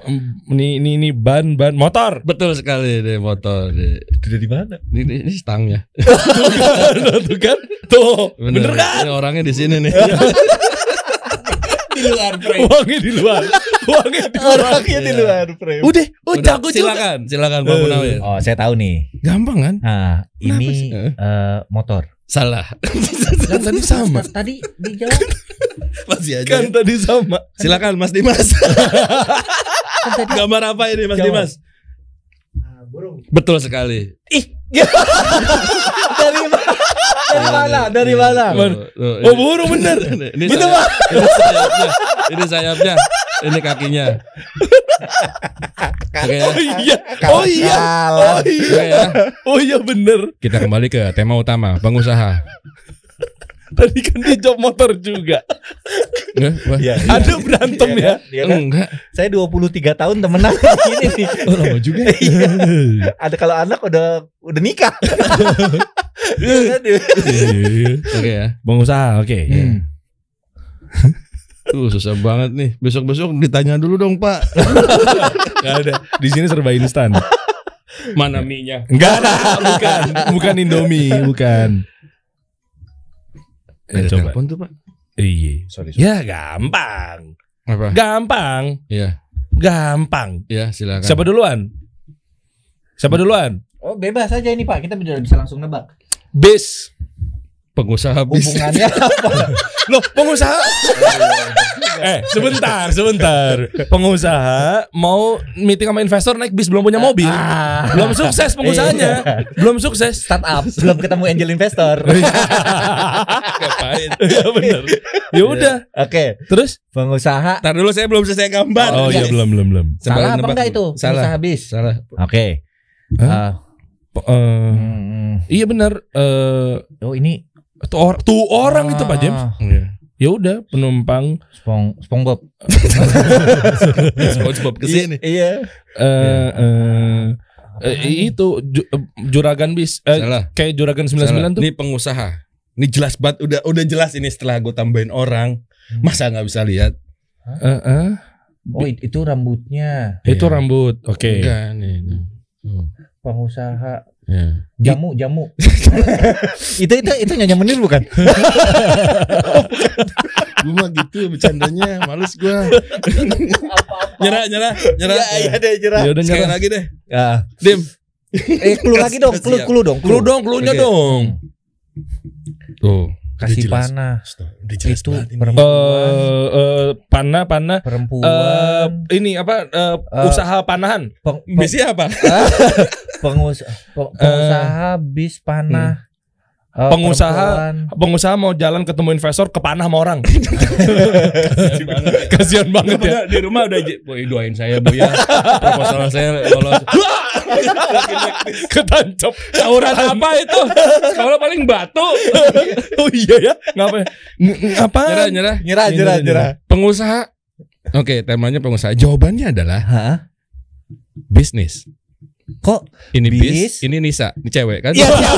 Speaker 3: em, ini ini ini ban ban motor.
Speaker 4: Betul sekali deh motor. deh.
Speaker 2: Dari mana?
Speaker 4: Ini, ini, ya. ini stangnya.
Speaker 3: Tuh kan? Tuh. Bener, kan?
Speaker 4: Ini orangnya di sini nih.
Speaker 2: Di luar frame.
Speaker 3: Uangnya di luar. Uangnya di luar.
Speaker 2: Orangnya di luar frame.
Speaker 3: Udah,
Speaker 4: Udah,
Speaker 3: udah aku juga.
Speaker 4: silakan, silakan
Speaker 3: Eh.
Speaker 4: Pak Munawir.
Speaker 2: Oh, saya tahu nih.
Speaker 4: Gampang kan?
Speaker 2: Nah, ini
Speaker 4: Kenapa
Speaker 2: eh, motor.
Speaker 4: Salah.
Speaker 3: Kan tadi sama.
Speaker 2: Tadi dijawab
Speaker 4: Masih aja.
Speaker 3: Kan tadi sama.
Speaker 4: Silakan Mas Dimas. Gambar apa ini Mas
Speaker 3: Jawab.
Speaker 4: Dimas? Betul sekali.
Speaker 2: gitu. dari mana? Dari mana? Dari mana?
Speaker 4: Tuh, tuh,
Speaker 3: Iya, Oh,
Speaker 4: ini-
Speaker 3: burung bener.
Speaker 4: Ini- ini sayap- ini sayapnya, ini sayapnya, ini kakinya. Oke ya,
Speaker 3: Oh iya. Oh iya.
Speaker 2: Salah.
Speaker 3: Oh iya.
Speaker 4: oke ya.
Speaker 3: Oh iya bener.
Speaker 4: Kita kembali ke tema utama, pengusaha.
Speaker 3: Tadi kan dia job motor juga.
Speaker 4: Nggak, wah.
Speaker 2: Iya, iya.
Speaker 3: Ada berantem
Speaker 2: Iya
Speaker 3: ya.
Speaker 2: kan? Iya kan?
Speaker 4: Enggak.
Speaker 2: Saya 23 tahun temenan gini nih.
Speaker 3: Oh, lama juga.
Speaker 4: ya?
Speaker 2: Iya. Ada kalau anak udah udah nikah. Iya kan?
Speaker 4: Oke ya.
Speaker 3: Pengusaha, Iya. oke. Iya.
Speaker 2: Hmm.
Speaker 4: Tuh Uh, susah banget nih. Besok-besok ditanya dulu dong, Pak.
Speaker 3: Gak ada. Di sini serba instan.
Speaker 4: Mana minya?
Speaker 3: Enggak ada, bukan, bukan Indomie, Iya, bukan.
Speaker 4: Ada
Speaker 3: coba.
Speaker 4: telepon tuh, Pak.
Speaker 3: Iya.
Speaker 4: Sorry.
Speaker 3: Ya gampang,
Speaker 4: Apa?
Speaker 3: gampang,
Speaker 4: Iya,
Speaker 3: gampang.
Speaker 4: iya silakan.
Speaker 3: Siapa duluan? Siapa duluan?
Speaker 2: Oh, bebas aja ini, Pak. Kita bisa bisa langsung nebak.
Speaker 3: Bis.
Speaker 4: pengusaha bisnis?
Speaker 2: Hubungannya apa?
Speaker 3: Loh, pengusaha. eh, sebentar, sebentar. Pengusaha mau meeting sama investor naik bis belum punya mobil.
Speaker 2: Ah.
Speaker 3: Belum
Speaker 4: Iya.
Speaker 3: sukses pengusahanya. Belum sukses.
Speaker 2: Startup belum ketemu angel investor.
Speaker 4: Ngapain?
Speaker 3: Ya benar. Ya udah.
Speaker 2: Oke,
Speaker 3: Terus?
Speaker 2: pengusaha
Speaker 4: Ntar dulu saya belum selesai gambar.
Speaker 3: Oh iya belum belum belum.
Speaker 4: Coba
Speaker 2: salah apa
Speaker 4: nebak
Speaker 2: enggak itu?
Speaker 4: dulu. Salah.
Speaker 2: Pengusaha habis.
Speaker 4: Salah.
Speaker 2: Oke.
Speaker 3: Hah? Po- eh,
Speaker 2: Ah, hmm,
Speaker 3: Iya benar. Eh
Speaker 2: oh ini
Speaker 3: tuh, or- tuh orang itu Pak James.
Speaker 2: Ah,
Speaker 4: Iya.
Speaker 3: Ya udah penumpang.
Speaker 2: Spong SpongeBob.
Speaker 4: SpongeBob ke sini.
Speaker 2: Iya.
Speaker 3: eh eh, eh, itu ju- eh, juragan bis. Eh,
Speaker 4: Salah.
Speaker 3: kayak juragan 99
Speaker 4: Salah.
Speaker 3: tuh.
Speaker 4: Ini pengusaha. Ini jelas banget udah udah jelas ini setelah gue tambahin orang.
Speaker 3: Hmm.
Speaker 4: Masa nggak bisa lihat?
Speaker 3: Eh, eh,
Speaker 2: Oh, it- itu rambutnya
Speaker 3: itu
Speaker 4: Iya.
Speaker 3: rambut. Oke.
Speaker 4: Enggak nih. itu. Oh,
Speaker 2: pengusaha
Speaker 4: ya.
Speaker 2: jamu jamu. itu itu itu nyanyi menir bukan?
Speaker 4: Gue mah gitu bercandanya, males gue. nyerah, nyerah, nyerah.
Speaker 2: Iya, iya deh jerah.
Speaker 3: Ya udah
Speaker 4: Sekali
Speaker 3: nyerah.
Speaker 4: lagi deh.
Speaker 2: Ah.
Speaker 4: Dim,
Speaker 2: Eh, clue lagi dong, clue, clue dong,
Speaker 3: Clue dong, clue-nya
Speaker 2: Oke.
Speaker 3: dong.
Speaker 4: Tuh,
Speaker 2: Kasih
Speaker 4: jelas.
Speaker 2: panah.
Speaker 4: udah jelas
Speaker 2: Itu
Speaker 4: banget ini.
Speaker 3: Eh eh, panah panah
Speaker 2: Perempuan.
Speaker 3: eh ini apa eh,
Speaker 2: Eh,
Speaker 3: usaha panahan.
Speaker 2: peng- peng-
Speaker 4: Biasanya apa?
Speaker 2: Ah, pengus pe- pengusaha bis panah eh,
Speaker 3: Pengusaha-
Speaker 2: perempuan.
Speaker 3: Pengusaha mau jalan ketemu investor kepanah sama orang. Kasihan banget ya.
Speaker 4: Padahal di rumah udah j- boy doain saya bu ya proposal saya lolos
Speaker 3: Ketancap.
Speaker 4: tawuran apa itu kalau paling batu
Speaker 3: Oh iya ya. Ngapa? Ng- ng- Apa?
Speaker 4: nyerah nyerah
Speaker 2: nyerah nyerah nyerah
Speaker 4: pengusaha oke temanya pengusaha jawabannya adalah
Speaker 2: Hah?
Speaker 4: bisnis
Speaker 2: kok
Speaker 4: ini
Speaker 2: Bis?
Speaker 4: bis, ini Nisa ini cewek
Speaker 3: Ya,
Speaker 4: kan
Speaker 2: Iya, iya.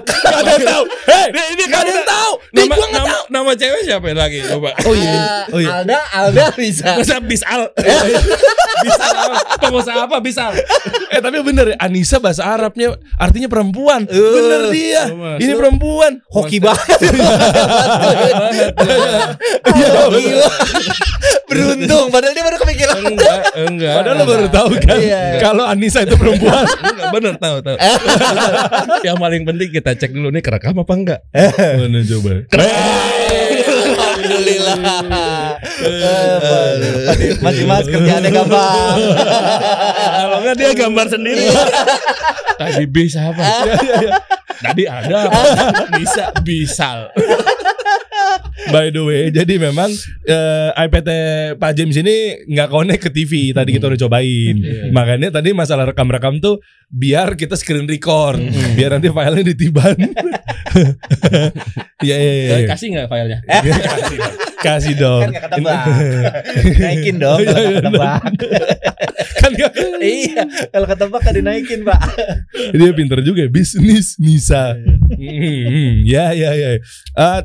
Speaker 3: Gak ada yang tahu. Hei, ini gak ada yang tahu. Nih,
Speaker 4: nama,
Speaker 3: gua nggak
Speaker 4: nama, nama cewek siapa lagi coba
Speaker 2: oh iya
Speaker 3: Oh, iya.
Speaker 2: Alda Alda bisa
Speaker 4: Masa bisal bisal iya. apa? pengusaha apa bisal
Speaker 3: Eh tapi bener ya, Anissa bahasa Arabnya artinya perempuan. bener dia.
Speaker 4: Mas.
Speaker 3: ini perempuan.
Speaker 2: Uh. hoki banget Iya, Gila. beruntung padahal dia baru kepikiran
Speaker 4: enggak enggak
Speaker 3: Padahal lo baru tahu kan
Speaker 2: Iya.
Speaker 3: kalau Anissa itu perempuan.
Speaker 4: Enggak, bener tahu tahu yang paling penting kita cek dulu nih kerekam apa enggak
Speaker 3: Eh. Mana coba?
Speaker 2: Alhamdulillah Eh, Masih mas kerjaannya gampang
Speaker 4: kalau enggak dia gambar sendiri tadi bis apa Iya, tadi ada bisa bisal
Speaker 3: By the way, jadi memang eh, iPT Pak James ini nggak connect ke TV. Tadi kita udah cobain. Makanya tadi masalah rekam-rekam tuh biar kita screen record, biar nanti filenya ditiban. Iya iya iya.
Speaker 4: kasih nggak filenya
Speaker 3: Kasih
Speaker 2: Kan
Speaker 3: dong.
Speaker 2: gak ketebak Naikin dong kalau nggak ketebak
Speaker 3: Kan nggak-
Speaker 2: Iya Kalau ketebak kan dinaikin pak
Speaker 3: Dia pinter juga ya, bisnis Nisa. Mm, ya ya ya. Eh,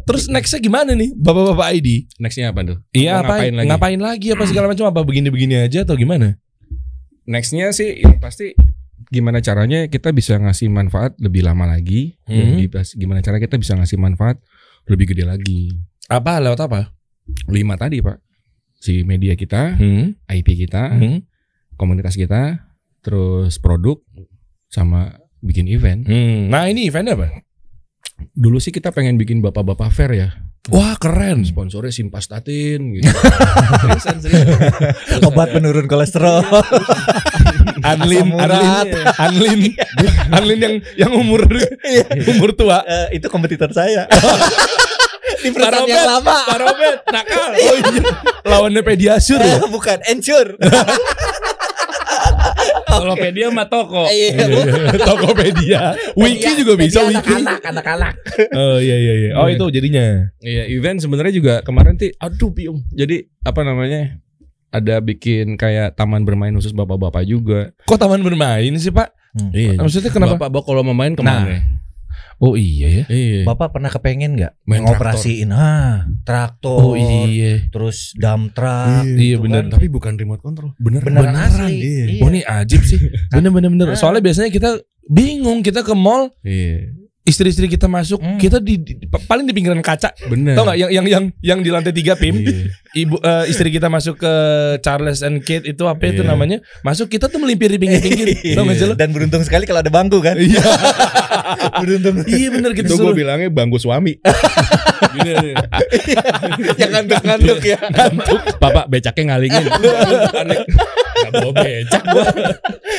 Speaker 3: terus nextnya gimana nih, bapak-bapak ID?
Speaker 4: nextnya apa tuh
Speaker 3: Iya
Speaker 4: Mau
Speaker 3: apa? Ngapain lagi? apa segala macam? Apa begini-begini aja atau gimana?
Speaker 4: nextnya sih yang pasti gimana caranya kita bisa ngasih manfaat lebih lama lagi
Speaker 3: Hmm.
Speaker 4: Lebih pas- gimana cara kita bisa ngasih manfaat lebih gede lagi
Speaker 3: Apa lewat apa?
Speaker 4: lima tadi pak si media kita
Speaker 3: Hmm.
Speaker 4: IP kita
Speaker 3: Hmm.
Speaker 4: komunitas kita terus produk sama bikin event
Speaker 3: Hmm. Nah ini eventnya apa?
Speaker 4: dulu sih kita pengen bikin bapak-bapak fair ya
Speaker 3: Wah keren.
Speaker 4: sponsornya simpastatin gitu Seriusan, serius. Terus
Speaker 2: Obat
Speaker 4: ada-
Speaker 2: penurun kolesterol
Speaker 3: Anlin,
Speaker 2: Asam
Speaker 3: Anlin,
Speaker 2: urat.
Speaker 3: Anlin, Anlin yang yang umur umur tua.
Speaker 2: Eh, Itu kompetitor saya
Speaker 3: Oh.
Speaker 2: Di
Speaker 3: Para obat.
Speaker 2: perusahaan yang lama
Speaker 3: Robert, nakal. Oh iya. Lawannya Pediasure
Speaker 2: Eh,
Speaker 3: ya.
Speaker 2: Bukan Ensure
Speaker 3: Oh,
Speaker 4: kalau pedia mah toko
Speaker 2: Iya bukan.
Speaker 3: Tokopedia, Wiki juga bisa
Speaker 2: Media
Speaker 3: Wiki.
Speaker 2: Anak-anak anak-anak.
Speaker 3: Oh iya iya iya. Oh itu jadinya.
Speaker 4: Iya, event sebenarnya juga kemarin ti aduh biung. Jadi apa namanya? Ada bikin kayak taman bermain khusus bapak-bapak juga.
Speaker 3: Kok taman bermain sih Pak?
Speaker 4: Iya.
Speaker 3: Maksudnya kenapa?
Speaker 4: Kenapa bapak kalau mau main kemana? ya?
Speaker 3: Nah. Oh iya ya.
Speaker 4: Iya.
Speaker 2: Bapak pernah kepengen nggak
Speaker 4: Main
Speaker 2: mengoperasiin ha
Speaker 3: Oh
Speaker 2: traktor,
Speaker 3: iya.
Speaker 2: terus dump truck,
Speaker 3: Iya
Speaker 2: gitu
Speaker 3: benar.
Speaker 2: kan.
Speaker 4: Ah, Tapi bukan remote control. Bener.
Speaker 2: Beneran, asli.
Speaker 4: iya.
Speaker 2: Iya.
Speaker 3: Oh ini ajib sih. Nah. Bener bener bener. Soalnya biasanya kita bingung kita ke mall
Speaker 4: Iya.
Speaker 3: istri-istri kita masuk
Speaker 2: Hmm.
Speaker 3: kita di, di- paling di pinggiran kaca
Speaker 4: Bener.
Speaker 3: tau nggak yang yang yang yang di lantai tiga pim
Speaker 4: Iya.
Speaker 3: ibu eh, istri kita masuk ke Charles and Kate itu apa itu
Speaker 4: Iya.
Speaker 3: namanya masuk kita tuh melimpir di pinggir-pinggir tau nggak sih lo
Speaker 2: Dan beruntung sekali kalau ada bangku kan.
Speaker 3: Iya.
Speaker 2: beruntung.
Speaker 3: iya bener gitu
Speaker 4: Itu gue
Speaker 3: suruh
Speaker 4: bilangnya bangku suami.
Speaker 2: yang ngantuk-ngantuk ya.
Speaker 4: Bapak becaknya ngalingin. Aneh. Gak bawa becak.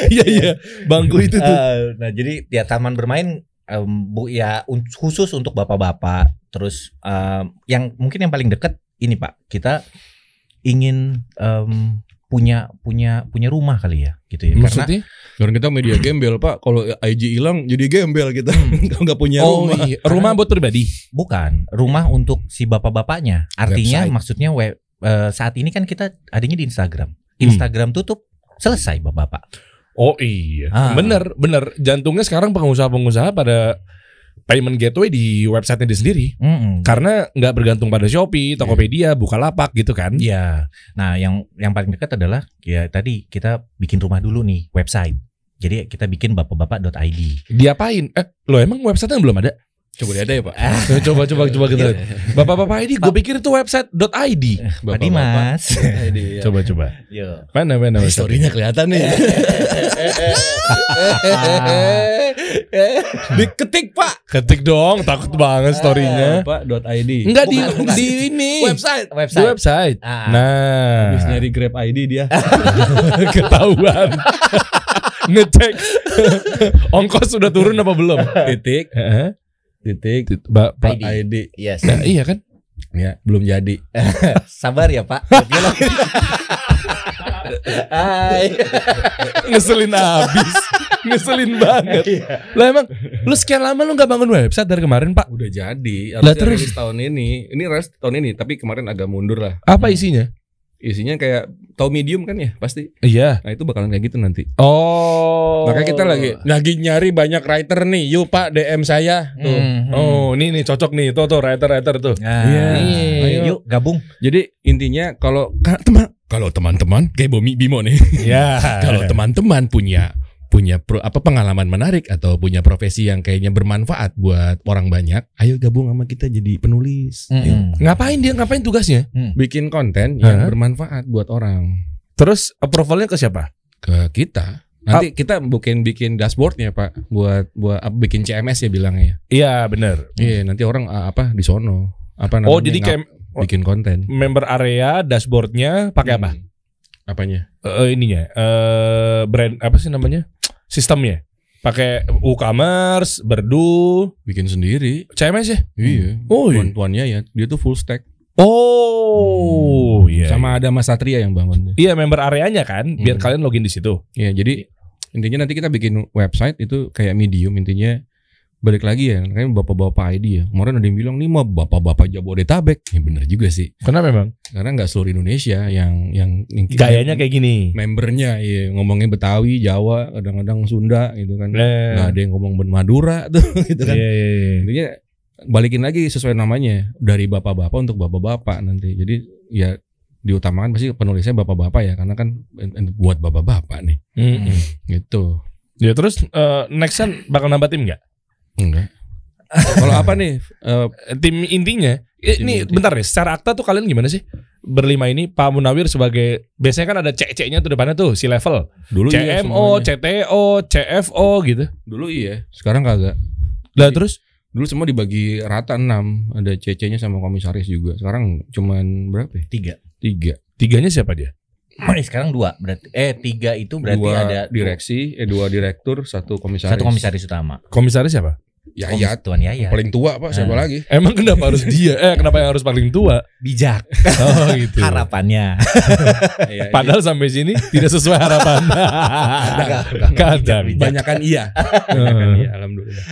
Speaker 3: iya iya bangku itu tuh
Speaker 2: Eh, nah, jadi ya taman bermain em, Bu ya un- khusus untuk bapak-bapak. Terus em, yang mungkin yang paling deket ini Pak, kita ingin em, punya punya punya rumah kali ya gitu ya. Karena
Speaker 3: maksudnya
Speaker 4: Dan kita media gembel pak. Kalau IG hilang jadi gembel kita. Kalau nggak punya
Speaker 3: oh
Speaker 4: rumah.
Speaker 3: iya rumah buat pribadi
Speaker 2: Bukan, rumah untuk si bapak-bapaknya. Artinya
Speaker 4: Website.
Speaker 2: maksudnya web eh, saat ini kan kita adanya di Instagram.
Speaker 3: Hmm.
Speaker 2: Instagram tutup, selesai bapak-bapak.
Speaker 3: oh iya
Speaker 2: Ah.
Speaker 3: bener bener jantungnya sekarang pengusaha-pengusaha pada payment gateway di websitenya dia sendiri
Speaker 2: Mm-mm.
Speaker 3: karena nggak bergantung pada Shopee, Tokopedia, Bukalapak gitu kan?
Speaker 2: Iya. Nah, yang yang paling dekat adalah ya tadi kita bikin rumah dulu nih, website. Jadi kita bikin bapak-bapak.id.
Speaker 3: Diapain? Eh, lo emang websitenya belum ada?
Speaker 4: Coba lihat deh Pak.
Speaker 3: Coba coba coba
Speaker 4: Iya.
Speaker 3: kita. lihat. Bapak-bapak ini gue pikir itu website.id.
Speaker 2: Pak Dimas.
Speaker 3: Eh, Coba coba.
Speaker 2: Yo.
Speaker 3: Mana mana website?
Speaker 4: Historinya iya. kelihatan nih.
Speaker 2: Ah.
Speaker 3: Diketik Pak. Eh, Ketik dong, takut banget storynya.
Speaker 4: Pak dot ID.
Speaker 3: Enggak di
Speaker 2: Bukan, bukan.
Speaker 3: di ini.
Speaker 2: Website,
Speaker 3: Di
Speaker 2: website.
Speaker 3: website.
Speaker 2: Ah.
Speaker 3: Nah,
Speaker 4: Habis nyari Grab ID dia.
Speaker 3: ketahuan. Ngecek ongkos sudah turun apa belum?
Speaker 4: titik
Speaker 3: Heeh.
Speaker 4: titik
Speaker 3: Ba- Pak.
Speaker 4: Pak ID.
Speaker 2: Yes.
Speaker 3: Nah, iya kan?
Speaker 4: Ya, belum jadi.
Speaker 2: Sabar ya, Pak. Dia lagi- Hai.
Speaker 3: Ngeselin abis. Ngeselin banget.
Speaker 2: Iya.
Speaker 3: Lah emang lu sekian lama lu nggak bangun website dari kemarin, Pak?
Speaker 4: Udah jadi.
Speaker 3: Lah,
Speaker 4: Harusnya
Speaker 3: terus?
Speaker 4: rilis tahun ini. Ini rilis tahun ini, tapi kemarin agak mundur lah.
Speaker 3: Apa isinya?
Speaker 4: Isinya kayak tahu medium kan ya pasti.
Speaker 3: Iya.
Speaker 4: Nah, itu bakalan kayak gitu nanti.
Speaker 3: Oh.
Speaker 4: Makanya kita lagi lagi nyari banyak writer nih. Yuk Pak DM saya.
Speaker 2: Hmm,
Speaker 4: Tuh.
Speaker 3: Oh, ini nih cocok nih. Tuh tuh writer-writer tuh.
Speaker 2: Iya.
Speaker 4: Ayo.
Speaker 2: Yuk gabung.
Speaker 4: Jadi intinya kalau ka- teman kalau teman-teman kayak Bomi Bimo nih.
Speaker 3: Ya.
Speaker 4: Nah, kalau teman-teman punya punya pro- apa pengalaman menarik atau punya profesi yang kayaknya bermanfaat buat orang banyak, ayo gabung sama kita jadi penulis. Yuk.
Speaker 2: Hmm,
Speaker 3: ngapain dia? Ngapain tugasnya?
Speaker 4: Bikin konten
Speaker 3: Hah?
Speaker 4: yang bermanfaat buat orang.
Speaker 3: Terus approvalnya ke siapa?
Speaker 4: Ke kita. Nanti kita bikin bikin dashboardnya Pak buat buat apa, bikin CMS ya bilangnya.
Speaker 3: Iya, bener
Speaker 4: Iya, nanti orang ah, apa di sono apa namanya?
Speaker 3: Oh, jadi
Speaker 4: ngap-
Speaker 3: kayak
Speaker 4: bikin konten.
Speaker 3: member area dashboardnya pakai apa?
Speaker 4: Hmm. Apanya?
Speaker 3: Eh, ininya eh brand apa sih namanya? Sistemnya. Pakai WooCommerce, Berdu,
Speaker 4: Bikin sendiri.
Speaker 3: CMS ya?
Speaker 4: Iya.
Speaker 3: Oh, iya.
Speaker 4: Tuan-tuannya ya, dia tuh full stack.
Speaker 3: Oh, iya. Sama
Speaker 4: Sama ada Mas Satria yang bangun.
Speaker 3: Iya member areanya kan, biar
Speaker 4: Hmm.
Speaker 3: kalian login di situ.
Speaker 4: Ya, jadi
Speaker 3: Iya.
Speaker 4: intinya nanti kita bikin website itu kayak medium intinya balik lagi ya, kan bapak-bapak ID ya. Kemarin ada yang bilang nih mah bapak-bapak Jabodetabek. Ya bener juga sih.
Speaker 3: Kenapa memang?
Speaker 4: Karena nggak seluruh Indonesia yang yang, yang
Speaker 3: Gayanya kayak gini.
Speaker 4: membernya ya ngomongnya Betawi, Jawa, kadang-kadang Sunda gitu kan. Nggak
Speaker 3: Nah,
Speaker 4: ada yang ngomong ben Madura tuh gitu kan.
Speaker 3: iya, iya, iya.
Speaker 4: Intinya balikin lagi sesuai namanya dari bapak-bapak untuk bapak-bapak nanti. Jadi ya diutamakan pasti penulisnya bapak-bapak ya karena kan en- en- buat bapak-bapak nih
Speaker 3: Mm-mm.
Speaker 4: gitu.
Speaker 3: Ya terus eh, next nextan bakal nambah tim nggak?
Speaker 4: Enggak. Kalau apa nih? Eh,
Speaker 3: Eh, Tim intinya. Eh,
Speaker 4: Tim
Speaker 3: Ini
Speaker 4: inti.
Speaker 3: bentar deh. Secara akta tuh kalian gimana sih? Berlima ini Pak Munawir sebagai biasanya kan ada CC-nya tuh depannya tuh si level.
Speaker 4: dulu iya
Speaker 3: CMO,
Speaker 4: semuanya.
Speaker 3: CTO, CFO gitu.
Speaker 4: dulu iya. Sekarang kagak.
Speaker 3: Lah terus
Speaker 4: Dulu semua dibagi rata 6, ada CC-nya sama komisaris juga. Sekarang cuman berapa ya?
Speaker 2: Tiga.
Speaker 4: 3.
Speaker 3: tiganya siapa dia?
Speaker 2: Sekarang dua berarti. Eh tiga itu berarti
Speaker 4: dua
Speaker 2: ada
Speaker 4: direksi, eh dua direktur, satu komisaris.
Speaker 2: satu komisaris utama.
Speaker 3: Komisaris siapa?
Speaker 4: Ya,
Speaker 2: Komis-
Speaker 4: ya,
Speaker 2: Tuan Yaya.
Speaker 4: paling tua Pak, siapa
Speaker 2: Ah.
Speaker 4: lagi?
Speaker 3: Emang kenapa harus dia? Eh kenapa yang harus paling tua?
Speaker 2: Bijak.
Speaker 3: Oh gitu.
Speaker 2: Harapannya.
Speaker 4: Iya, iya.
Speaker 3: Padahal sampai sini tidak sesuai harapan. Kadang.
Speaker 4: Banyakan iya. Banyakan iya, alhamdulillah.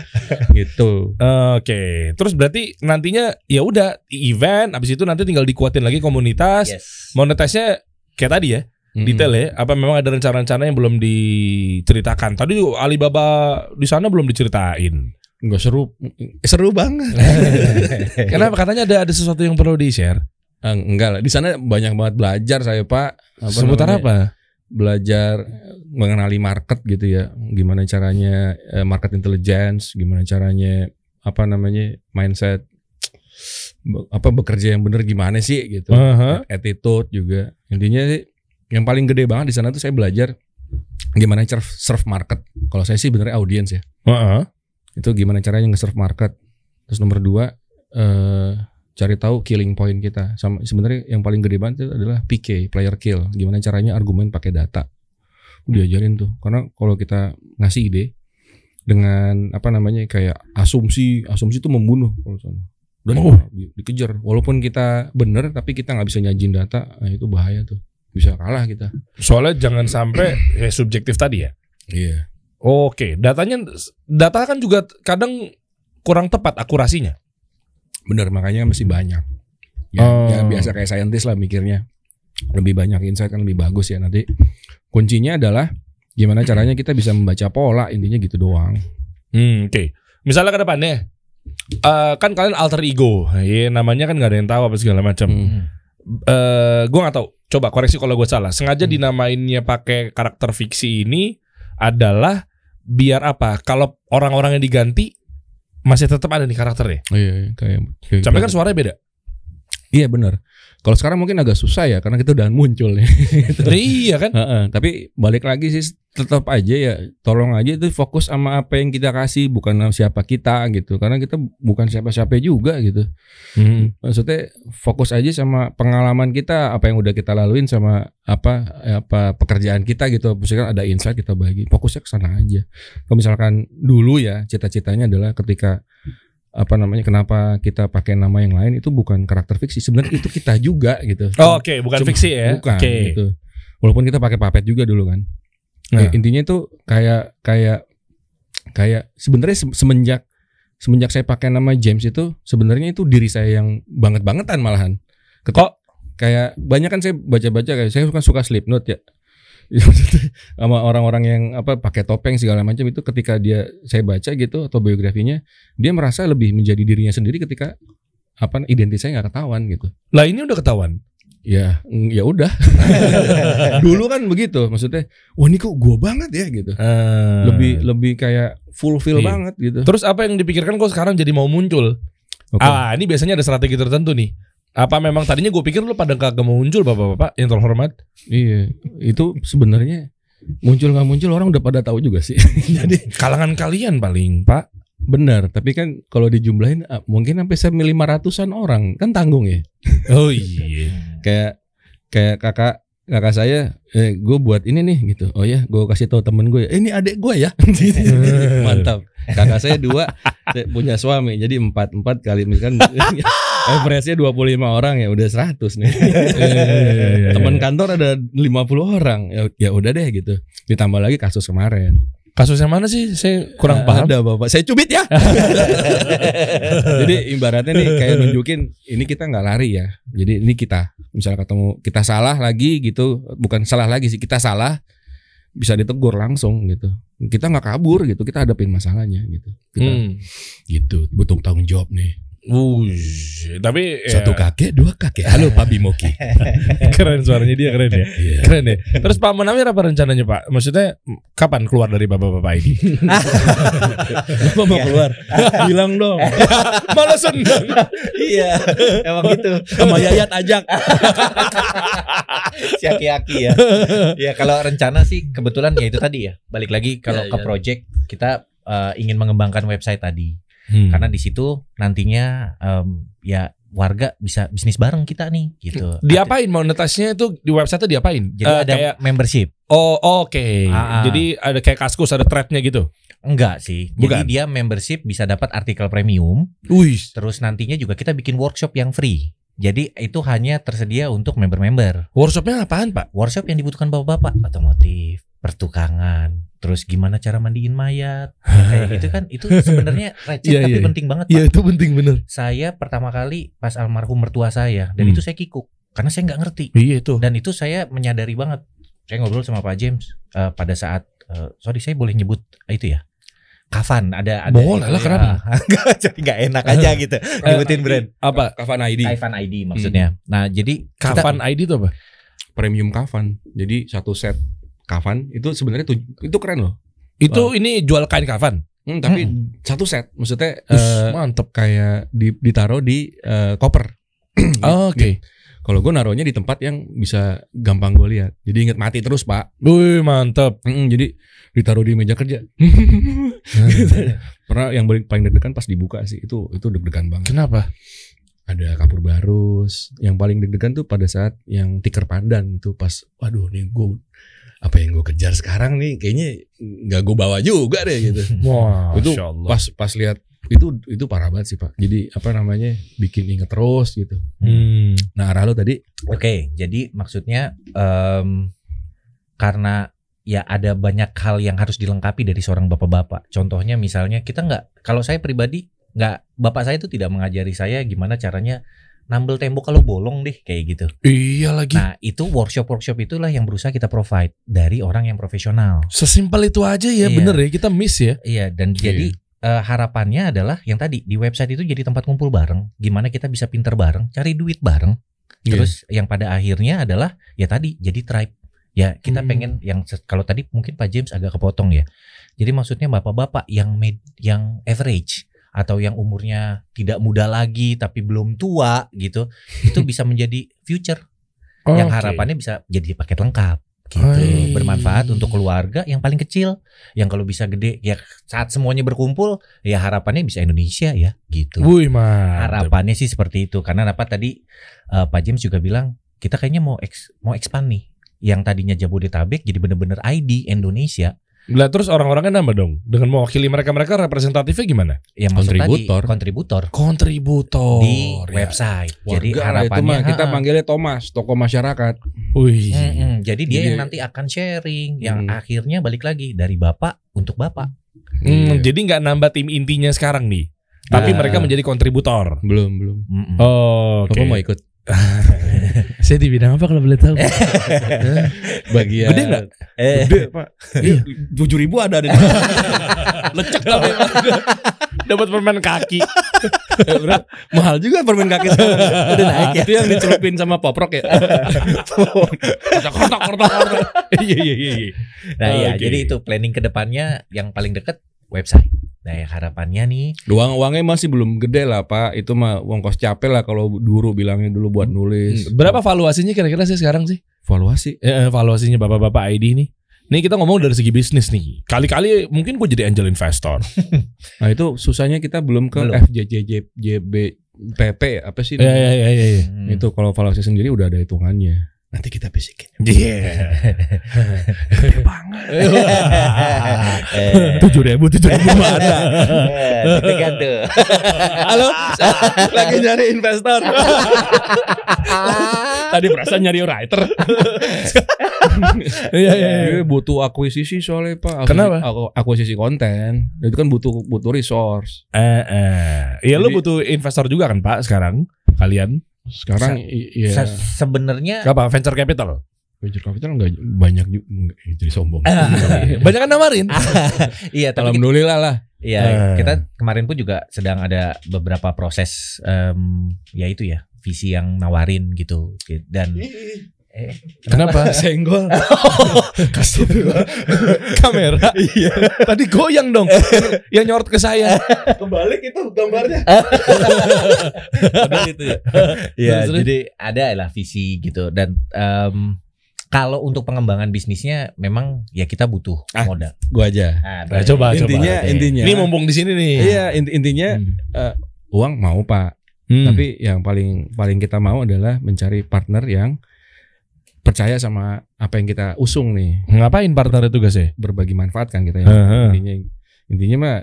Speaker 4: gitu.
Speaker 3: Eh, Oke, terus berarti nantinya ya udah event, abis itu nanti tinggal dikuatin lagi komunitas.
Speaker 2: Yes.
Speaker 3: Monetasnya kayak tadi ya, detail ya. Apa memang ada rencana-rencana yang belum diceritakan? Tadi juga Alibaba di sana belum diceritain.
Speaker 4: Enggak seru. Seru banget.
Speaker 3: Kenapa? Katanya ada ada sesuatu yang perlu di share.
Speaker 4: Ah, enggak lah, di sana banyak banget belajar saya, Pak. Apa
Speaker 3: Seputar
Speaker 4: namanya?
Speaker 3: apa?
Speaker 4: Belajar mengenali market gitu ya. Gimana caranya eh, market intelligence, gimana caranya apa namanya? mindset Be- apa bekerja yang bener gimana sih gitu.
Speaker 3: Aha.
Speaker 4: attitude juga. Intinya sih yang paling gede banget di sana tuh saya belajar gimana cara serve market. Kalau saya sih benernya audience ya.
Speaker 3: Aha.
Speaker 4: Itu gimana caranya nge-serve market. Terus nomor dua eh cari tahu killing point kita. Sama sebenarnya yang paling gede banget itu adalah PK, player kill. Gimana caranya argumen pakai data. Udah diajarin tuh. Karena kalau kita ngasih ide dengan apa namanya kayak asumsi, asumsi itu membunuh kalau sana. Dan
Speaker 3: Oh.
Speaker 4: di- dikejar. Walaupun kita bener tapi kita nggak bisa nyajin data, nah itu bahaya tuh. Bisa kalah kita.
Speaker 3: Soalnya jangan sampai ya, subjektif tadi ya.
Speaker 4: Iya.
Speaker 3: Oke, datanya data kan juga kadang kurang tepat akurasinya.
Speaker 4: Bener makanya mesti banyak. Ya,
Speaker 3: Oh.
Speaker 4: ya biasa kayak saintis lah mikirnya. Lebih banyak insight kan lebih bagus ya nanti. Kuncinya adalah gimana caranya kita bisa membaca pola intinya gitu doang.
Speaker 3: Hmm, oke. Misalnya ke depannya eh, kan kalian alter ego. Iya, namanya kan nggak ada yang tahu apa segala macam. Eh,
Speaker 4: Hmm.
Speaker 3: gua nggak tahu. Coba koreksi kalau gua salah. Sengaja
Speaker 4: Hmm.
Speaker 3: dinamainnya pakai karakter fiksi ini adalah biar apa? Kalau orang-orang yang diganti masih tetap ada nih karakternya.
Speaker 4: Oh, iya, iya, kayak, kayak
Speaker 3: Sampai kan suaranya beda.
Speaker 4: Iya benar. Kalau sekarang mungkin agak susah ya karena kita udah muncul ya.
Speaker 3: Nah, iya kan?
Speaker 4: Heeh, tapi balik lagi sih tetap aja ya tolong aja itu fokus sama apa yang kita kasih bukan sama siapa kita gitu karena kita bukan siapa-siapa juga gitu. Maksudnya fokus aja sama pengalaman kita apa yang udah kita laluin sama apa apa pekerjaan kita gitu. Misalkan ada insight kita bagi. Fokusnya ke sana aja. Kalau misalkan dulu ya cita-citanya adalah ketika apa namanya kenapa kita pakai nama yang lain itu bukan karakter fiksi sebenarnya itu kita juga gitu
Speaker 3: Oh, Oke, bukan
Speaker 4: Cuma-
Speaker 3: fiksi ya.
Speaker 4: bukan
Speaker 3: Oke.
Speaker 4: gitu. Walaupun kita pakai papet juga dulu kan. Nah,
Speaker 3: Nah.
Speaker 4: intinya itu kayak kayak kayak sebenarnya se- semenjak semenjak saya pakai nama James itu sebenarnya itu diri saya yang banget-bangetan malahan. Ketika,
Speaker 3: Kok?
Speaker 4: kayak banyak kan saya baca-baca kayak saya suka suka Slipknot ya. Ya, maksudnya sama orang-orang yang apa pakai topeng segala macam itu ketika dia saya baca gitu atau biografinya dia merasa lebih menjadi dirinya sendiri ketika apa identitasnya nggak ketahuan gitu
Speaker 3: Lah ini udah ketahuan.
Speaker 4: ya mm, ya udah dulu kan begitu maksudnya wah ini kok gua banget ya gitu
Speaker 3: Eh.
Speaker 4: lebih lebih kayak fulfill
Speaker 3: Iya.
Speaker 4: banget gitu
Speaker 3: Terus apa yang dipikirkan kok sekarang jadi mau muncul?
Speaker 4: Oke.
Speaker 3: Ah, ini biasanya ada strategi tertentu nih. Apa memang tadinya gue pikir lu pada kagak mau muncul bapak-bapak yang terhormat?
Speaker 4: iya itu sebenarnya muncul nggak muncul orang udah pada tahu juga sih jadi
Speaker 3: Iya, Kalangan kalian paling pak.
Speaker 4: benar tapi kan kalau dijumlahin ah, mungkin sampai sampai 500-an orang kan tanggung ya
Speaker 3: Oh iya.
Speaker 4: kayak kayak kakak kakak saya eh gue buat ini nih gitu oh ya gue kasih tahu temen gue eh, ini adik gue ya mantap kakak saya dua saya punya suami jadi empat empat kali misalkan average-nya 25 orang ya udah 100 nih teman kantor ada 50 orang ya, ya udah deh gitu ditambah lagi kasus kemarin
Speaker 3: Kasus yang mana sih? Saya kurang paham.
Speaker 4: ada bapak saya cubit ya jadi ibaratnya nih kayak nunjukin ini kita nggak lari ya jadi ini kita misal ketemu kita salah lagi gitu bukan salah lagi sih kita salah bisa ditegur langsung gitu kita nggak kabur gitu kita hadapin masalahnya gitu kita,
Speaker 3: Hmm.
Speaker 4: gitu butuh tanggung jawab nih
Speaker 3: Wush, tapi ya,
Speaker 4: satu kakek dua kakek halo Pak Bimoki
Speaker 3: eh, keren suaranya dia keren ya. Keren ya. Terus Pak Munawir apa rencananya Pak? Maksudnya kapan keluar dari bapak-bapak ini?
Speaker 4: Bapak mau keluar bilang dong
Speaker 3: Malah seneng.
Speaker 2: iya, emang gitu.
Speaker 4: sama Yayat ajak
Speaker 2: si aki-aki ya. ya kalau rencana sih kebetulan ya itu tadi ya. Balik lagi kalau
Speaker 4: Ya,
Speaker 2: ke
Speaker 4: ya.
Speaker 2: project kita eh, ingin mengembangkan website tadi.
Speaker 3: Hmm.
Speaker 2: Karena di situ nantinya em, ya warga bisa bisnis bareng kita nih gitu.
Speaker 3: Diapain monetasnya itu di website diapain?
Speaker 2: Jadi
Speaker 3: Eh,
Speaker 2: ada
Speaker 3: kayak
Speaker 2: membership.
Speaker 3: oh oke.
Speaker 2: Ah, ah.
Speaker 3: Jadi ada kayak kaskus ada threadnya gitu.
Speaker 2: Enggak sih.
Speaker 3: Bukan.
Speaker 2: Jadi dia membership bisa dapat artikel premium.
Speaker 3: Wih.
Speaker 2: Terus nantinya juga kita bikin workshop yang free. Jadi itu hanya tersedia untuk member-member.
Speaker 3: Workshopnya apaan Pak?
Speaker 2: Workshop yang dibutuhkan bapak-bapak, otomotif, pertukangan, terus gimana cara mandiin mayat, ya, kayak gitu kan. Itu sebenarnya receh
Speaker 3: Iya,
Speaker 2: tapi
Speaker 3: iya, iya.
Speaker 2: penting banget. Pak.
Speaker 3: itu penting bener.
Speaker 2: Saya pertama kali pas almarhum mertua saya, dan
Speaker 3: Hmm.
Speaker 2: itu saya kikuk karena saya nggak ngerti.
Speaker 3: Iya itu.
Speaker 2: Dan itu saya menyadari banget. Saya ngobrol sama Pak James eh, pada saat, eh, sorry saya boleh nyebut eh, itu ya. Kafan ada ada
Speaker 3: Boleh lah, kenapa? Eh,
Speaker 2: Nggak, jadi nggak enak aja gitu nyebutin brand
Speaker 3: Apa?
Speaker 4: kafan ID
Speaker 2: Kafan ID maksudnya nah jadi kita-
Speaker 3: Kapan ID itu apa?
Speaker 4: premium kafan jadi satu set kafan itu sebenarnya tuj- itu keren loh
Speaker 3: Itu ini jual kain kafan.
Speaker 4: Hmm, tapi satu set, maksudnya
Speaker 3: Us,
Speaker 4: eh,
Speaker 3: mantep.
Speaker 4: kayak di, ditaruh di eh, koper. Oh.
Speaker 3: Ah, Oke.
Speaker 4: Kalau gue naruhnya di tempat yang bisa gampang gue lihat. Jadi inget mati terus pak.
Speaker 3: Wih mantep.
Speaker 4: Mm-mm, jadi ditaruh di meja kerja. Ah, iya. Pernah yang paling paling deg-degan pas dibuka sih itu itu deg-degan banget.
Speaker 3: Kenapa?
Speaker 4: Ada kapur barus. Yang paling deg-degan tuh pada saat yang tikar pandan itu pas. Waduh nih gue apa yang gue kejar sekarang nih kayaknya nggak gue bawa juga deh gitu.
Speaker 3: Wah,
Speaker 4: Itu
Speaker 3: Masya Allah.
Speaker 4: pas pas lihat itu itu parah banget sih pak jadi apa namanya bikin inget terus gitu
Speaker 3: Hmm.
Speaker 4: nah arah lo tadi
Speaker 2: oke jadi maksudnya em, karena ya ada banyak hal yang harus dilengkapi dari seorang bapak-bapak contohnya misalnya kita nggak kalau saya pribadi nggak bapak saya itu tidak mengajari saya gimana caranya nambel tembok kalau bolong deh kayak gitu
Speaker 3: Iya lagi.
Speaker 2: nah itu workshop workshop itulah yang berusaha kita provide dari orang yang profesional
Speaker 3: Sesimpel itu aja ya,
Speaker 2: Iya.
Speaker 3: bener ya kita miss ya.
Speaker 2: Iya, dan jadi eh, harapannya adalah yang tadi di website itu jadi tempat kumpul bareng, gimana kita bisa pinter bareng, cari duit bareng.
Speaker 4: Iya.
Speaker 2: Terus yang pada akhirnya adalah ya tadi jadi tribe. Ya,
Speaker 3: Hmm.
Speaker 2: kita pengen yang se- kalau tadi mungkin Pak James agak kepotong ya. Jadi maksudnya bapak-bapak yang med, yang average atau yang umurnya tidak muda lagi tapi belum tua gitu itu bisa menjadi future yang
Speaker 3: Oke.
Speaker 2: harapannya bisa jadi paket lengkap gitu
Speaker 3: Hai.
Speaker 2: bermanfaat untuk keluarga yang paling kecil yang kalau bisa gede ya saat semuanya berkumpul ya harapannya bisa Indonesia ya gitu
Speaker 3: Wih, mantap.
Speaker 2: harapannya sih seperti itu karena apa tadi eh, Pak James juga bilang kita kayaknya mau eks- mau expand nih yang tadinya Jabodetabek jadi bener-bener ID Indonesia
Speaker 3: Lah terus orang-orangnya nambah dong. Dengan mewakili mereka-mereka representatifnya gimana?
Speaker 2: yang masuk
Speaker 4: Kontributor. Oh, iya.
Speaker 2: tadi kontributor
Speaker 3: Kontributor. Ya.
Speaker 2: di website jadi
Speaker 4: Warga lah itu
Speaker 2: harapannya
Speaker 4: mah kita
Speaker 2: ha-ha.
Speaker 4: panggilnya Thomas, tokoh masyarakat.
Speaker 3: Wih.
Speaker 2: Mm-mm. jadi dia
Speaker 4: Jadi-
Speaker 2: yang nanti akan sharing yang
Speaker 4: Mm.
Speaker 2: akhirnya balik lagi dari bapak untuk bapak
Speaker 4: Iya.
Speaker 3: Hmm, Jadi nggak nambah tim intinya sekarang nih. Tapi
Speaker 2: Nah.
Speaker 3: mereka menjadi kontributor.
Speaker 4: Belum, belum.
Speaker 2: Mm-mm.
Speaker 3: Oh,
Speaker 4: Bapak mau ikut
Speaker 3: Saya di bidang apa kalau boleh tahu?
Speaker 4: bagian Iya.
Speaker 3: Gede nggak?
Speaker 2: Eh,
Speaker 4: Gede, Pak. Tujuh ribu ada ada. di-
Speaker 3: Lecek lah memang. Dapat permen kaki.
Speaker 4: Mahal juga permen kaki sekarang. Udah naik ya. Itu yang dicelupin sama poprok ya.
Speaker 3: Kotak, kotak, kotak. Iya, iya, iya. iya.
Speaker 2: nah ya
Speaker 3: Oke.
Speaker 2: jadi itu planning kedepannya yang paling deket website nah ya harapannya nih
Speaker 4: Uang uangnya masih belum gede lah, Pak. Itu mah uang kos capek lah kalau dulu bilangnya dulu buat nulis.
Speaker 3: Hmm, Berapa valuasinya kira-kira sih sekarang sih?
Speaker 4: Valuasi
Speaker 3: Eh, eh, valuasinya bapak-bapak ID nih. Nih kita ngomong dari segi bisnis nih. Kali-kali mungkin gue jadi angel investor.
Speaker 4: Nah itu susahnya kita belum ke
Speaker 2: Belum.
Speaker 4: FJJJBPP apa sih?
Speaker 3: Iya, iya, iya, iya. iya.
Speaker 2: hmm,
Speaker 4: Itu kalau valuasi sendiri udah ada hitungannya. Nanti kita bisikin.
Speaker 3: Iya.
Speaker 2: Eh.
Speaker 3: Tujuh ribu, tujuh ribu mana?
Speaker 2: Gede-gede.
Speaker 3: Halo, lagi nyari investor. Tadi perasaan nyari writer. Iya, iya. iya.
Speaker 4: Dia butuh akuisisi soalnya pak. Akuisisi-
Speaker 3: Kenapa?
Speaker 4: aku- Akuisisi konten itu kan butuh butuh resource.
Speaker 3: Eh, eh. Iya, lu
Speaker 4: Jadi-
Speaker 3: butuh investor juga kan, Pak, sekarang? Kalian
Speaker 4: Sekarang
Speaker 2: Sa-
Speaker 4: i- iya
Speaker 2: Se- Sebenarnya
Speaker 3: apa venture capital?
Speaker 4: venture capital nggak banyak juga nggak- eh, jadi sombong.
Speaker 3: Banyak kan nawarin.
Speaker 2: iya tapi kita,
Speaker 4: Alhamdulillah lah.
Speaker 2: iya,
Speaker 3: Eh.
Speaker 2: kita kemarin pun juga sedang ada beberapa proses em, ya itu ya visi yang nawarin gitu dan eh,
Speaker 3: Kenapa?
Speaker 4: Senggol.
Speaker 3: Kasih dulu. kamera. Tadi goyang dong. Yang nyorot ke saya.
Speaker 2: ya
Speaker 3: Terus, terus.
Speaker 2: ya, jadi ada lah visi gitu dan em, kalau untuk pengembangan bisnisnya memang ya kita butuh
Speaker 4: Ah.
Speaker 2: modal.
Speaker 4: Gua aja.
Speaker 2: Nah,
Speaker 3: Nah, coba,
Speaker 4: intinya
Speaker 2: Oke.
Speaker 4: intinya.
Speaker 3: coba. Ini mumpung di sini nih.
Speaker 4: Iya inti- intinya
Speaker 3: Hmm.
Speaker 4: uang mau pak.
Speaker 3: Hmm.
Speaker 4: Tapi yang paling paling kita mau adalah mencari partner yang percaya sama apa yang kita usung nih.
Speaker 3: ngapain partner itu guys ya?
Speaker 4: berbagi manfaat kan kita ya.
Speaker 3: Heeh.
Speaker 4: Intinya intinya mah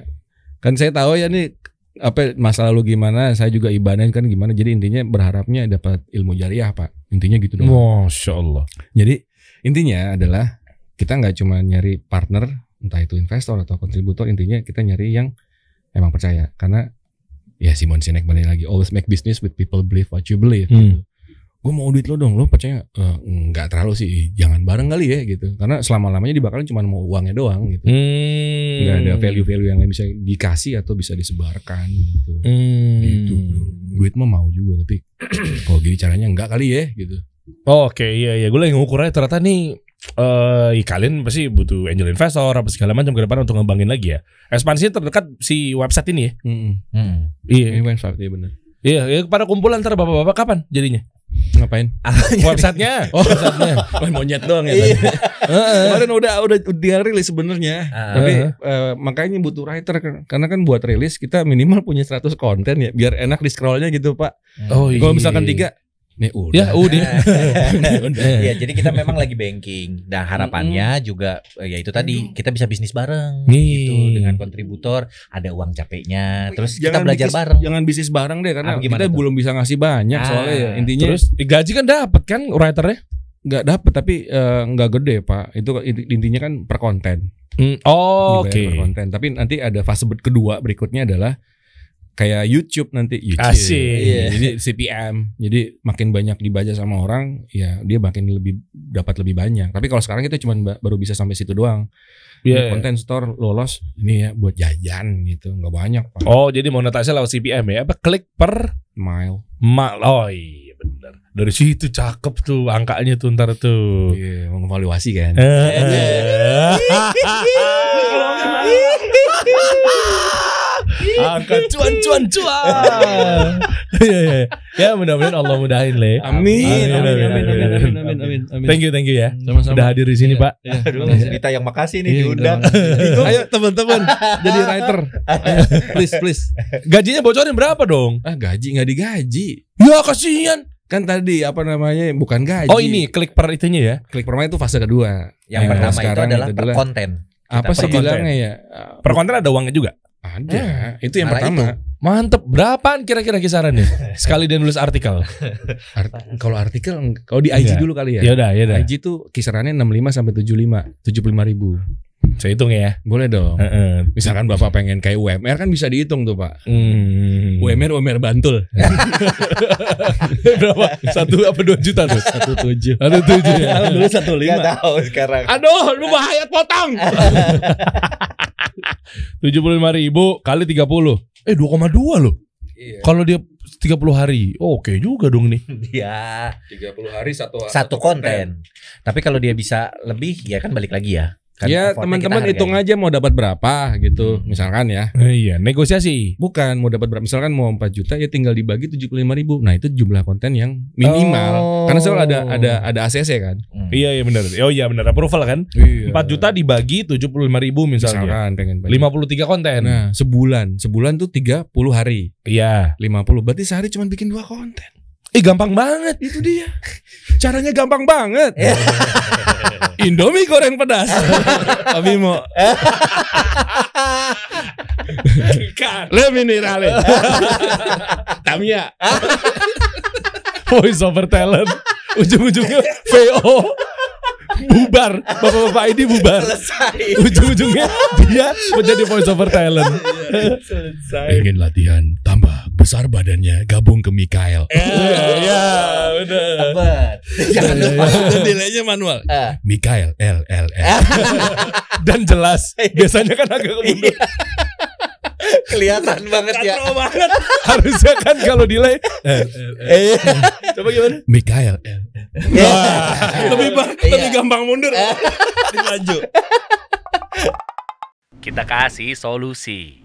Speaker 4: kan saya tahu ya nih apa masa lalu gimana, saya juga ibadah kan gimana. Jadi intinya berharapnya dapat ilmu jariah, Pak. Intinya gitu dong.
Speaker 3: Masya Allah.
Speaker 4: Jadi intinya adalah kita nggak cuma nyari partner entah itu investor atau kontributor, intinya kita nyari yang emang percaya karena ya Simon Sinek balik lagi always make business with people believe what you believe.
Speaker 3: Hmm.
Speaker 4: Gue mau duit lo dong, lo percaya Eh, nggak terlalu sih, jangan bareng kali ya gitu. Karena selama lamanya dibakalan cuma mau uangnya doang gitu
Speaker 3: Hmm.
Speaker 4: nggak ada value-value yang lain bisa dikasih atau bisa disebarkan gitu.
Speaker 3: Hmm.
Speaker 4: Gitu, bro. Duit mah mau juga tapi kalau gini caranya enggak kali ya gitu.
Speaker 3: Oke, iya iya. Gue lagi ngukurnya ternyata nih eh ya kalian pasti butuh angel investor apa segala macam ke depan untuk ngembangin lagi ya. Ekspansi terdekat si website ini ya.
Speaker 4: Heeh.
Speaker 2: Mm.
Speaker 3: Iya.
Speaker 4: Ini website ya bener.
Speaker 3: Iya, iya, pada kumpulan ntar bapak-bapak kapan jadinya?
Speaker 4: Ngapain?
Speaker 3: Websitenya. Iya.
Speaker 4: Oh, websitenya. Main monyet doang ya tadi. Kemarin udah udah dia rilis sebenarnya.
Speaker 2: Ah.
Speaker 4: Tapi eh, makanya butuh writer kan. karena kan buat rilis kita minimal punya 100 konten ya biar enak di scrollnya gitu, Pak.
Speaker 2: Hmm.
Speaker 4: Kalau misalkan tiga nih udah.
Speaker 3: Oh, iya. Ya Eh, udah.
Speaker 2: Iya, jadi kita memang lagi banking. Nah,
Speaker 4: Hmm.
Speaker 2: harapannya juga eh, ya itu tadi kita bisa bisnis bareng
Speaker 3: Nih.
Speaker 2: gitu dengan kontributor, ada uang capeknya, terus kita
Speaker 4: Jangan
Speaker 2: belajar
Speaker 4: bisnis-
Speaker 2: bareng.
Speaker 4: Jangan bisnis bareng deh karena
Speaker 2: Ah, gimana
Speaker 4: kita
Speaker 2: tuh?
Speaker 4: belum bisa ngasih banyak soalnya ya.
Speaker 2: Ah,
Speaker 4: Intinya
Speaker 3: Terus gaji kan dapat kan writernya?
Speaker 4: nggak dapet tapi eh, nggak gede pak itu inti- intinya kan per konten
Speaker 3: Hmm,
Speaker 4: Dibayar
Speaker 3: oh, Oke.
Speaker 4: per konten tapi nanti ada fase ber- kedua berikutnya adalah kayak YouTube nanti YouTube
Speaker 3: Asik.
Speaker 4: Iya, jadi CPM jadi makin banyak dibaca sama orang ya dia makin lebih dapat lebih banyak tapi kalau sekarang kita cuma ba- baru bisa sampai situ doang Di
Speaker 3: Iya.
Speaker 4: konten store lolos ini ya buat jajan gitu nggak banyak pak
Speaker 3: Oh, jadi monetisasi lewat CPM ya? Apa klik per
Speaker 4: mile
Speaker 3: mal? Oh iya benar. Dari situ cakep tuh angkanya tuh ntar tuh.
Speaker 4: iya mengevaluasi kan
Speaker 3: Iya, Eh. Angkat cuan cuan cuan. Iya iya. Ya mudah-mudahan Allah mudahin le.
Speaker 4: Amin.
Speaker 3: Amin, amin, amin, amin, amin,
Speaker 4: amin, amin.
Speaker 3: Thank you thank you ya.
Speaker 4: Sama-sama.
Speaker 3: Udah hadir di sini
Speaker 4: Iya.
Speaker 3: Pak.
Speaker 2: Aduh, cerita yang makasih nih
Speaker 4: Iya,
Speaker 2: diundang.
Speaker 4: gitu. Ayo teman-teman jadi writer. Ayo, please please.
Speaker 3: Gajinya bocorin berapa dong?
Speaker 4: Ah gaji nggak digaji.
Speaker 3: Ya kasihan.
Speaker 4: Kan tadi apa namanya bukan gaji.
Speaker 3: Oh ini klik per itunya ya.
Speaker 4: klik permain itu fase kedua.
Speaker 2: Yang
Speaker 4: Nah,
Speaker 2: pertama itu
Speaker 4: sekarang
Speaker 2: adalah
Speaker 4: itu
Speaker 2: per
Speaker 4: adalah-
Speaker 2: konten.
Speaker 4: Apa
Speaker 2: per
Speaker 4: sih
Speaker 3: konten.
Speaker 4: bilangnya ya?
Speaker 3: Per Eh, konten ada uangnya juga.
Speaker 4: Ada. Itu yang
Speaker 2: Malah
Speaker 4: pertama.
Speaker 3: Mantep. Berapaan kira-kira kisarannya? Sekali dia nulis artikel.
Speaker 4: Art- kalau artikel eng- kalau di IG
Speaker 3: Iya.
Speaker 4: dulu kali ya.
Speaker 3: Ya udah ya udah.
Speaker 4: IG tuh kisarannya 65 sampai 75, 75 ribu.
Speaker 3: Saya hitung ya.
Speaker 4: Boleh dong.
Speaker 3: Heeh.
Speaker 4: Misalkan Bapak pengen kayak UMR kan bisa dihitung tuh, Pak.
Speaker 3: Hmm.
Speaker 4: UMR UMR Bantul.
Speaker 3: berapa? Satu apa dua juta tuh? Satu tujuh. Satu tujuh. ya.
Speaker 2: Dulu satu lima. Gak tahu sekarang.
Speaker 4: Aduh, lu bahaya potong.
Speaker 3: Tujuh puluh lima ribu kali tiga puluh. Eh dua koma dua loh.
Speaker 4: Iya.
Speaker 3: Kalau dia 30 hari, oh, oke juga dong nih.
Speaker 2: Dia
Speaker 4: 30 hari satu
Speaker 2: Iya. satu konten. Tapi kalau dia bisa lebih, ya kan balik lagi ya. Kan
Speaker 4: Ya,
Speaker 2: effortnya
Speaker 4: teman-teman
Speaker 2: kita
Speaker 4: hitung
Speaker 2: hargai. Hmm.
Speaker 4: aja mau dapat berapa gitu, misalkan ya.
Speaker 3: iya, negosiasi.
Speaker 4: Bukan mau dapat berapa misalkan mau 4 juta ya tinggal dibagi 75 ribu Nah, itu jumlah konten yang minimal.
Speaker 3: Oh.
Speaker 4: Karena selalu ada ada ada ACC kan.
Speaker 2: Hmm.
Speaker 3: Iya iya benar. Oh iya benar approval kan? 4 juta dibagi 75 ribu misalnya.
Speaker 4: misalkan pengen banyak.
Speaker 3: 53 konten.
Speaker 4: Nah, sebulan. Sebulan tuh 30 hari.
Speaker 3: Iya.
Speaker 4: 50. Berarti sehari cuma bikin dua konten.
Speaker 3: Eh gampang banget.
Speaker 4: Itu dia. Caranya gampang banget. Indomie goreng pedas. Tapi mau le minerale. Tamia.
Speaker 3: Voice over talent. Ujung-ujungnya VO. Bubar. Bapak-bapak ini bubar.
Speaker 2: Selesai.
Speaker 3: Ujung-ujungnya dia menjadi voice over talent.
Speaker 2: Selesai.
Speaker 4: Pengen latihan tambah besar badannya gabung ke Mikael.
Speaker 3: Iya, iya, benar.
Speaker 2: Tebet. Jangan lupa.
Speaker 4: Nilainya manual.
Speaker 2: Ah.
Speaker 4: Mikael L L L.
Speaker 3: Eh. Dan jelas. Biasanya kan agak ke mundur.
Speaker 2: Kelihatan banget ya.
Speaker 3: Kacau banget. Harusnya kan kalau delay. eh, eh,
Speaker 2: Eh,
Speaker 3: eh. Coba gimana?
Speaker 4: Mikael L.
Speaker 3: Iya. Lebih bah,
Speaker 2: Iya.
Speaker 3: lebih gampang mundur. Lanjut.
Speaker 5: Kita kasih solusi.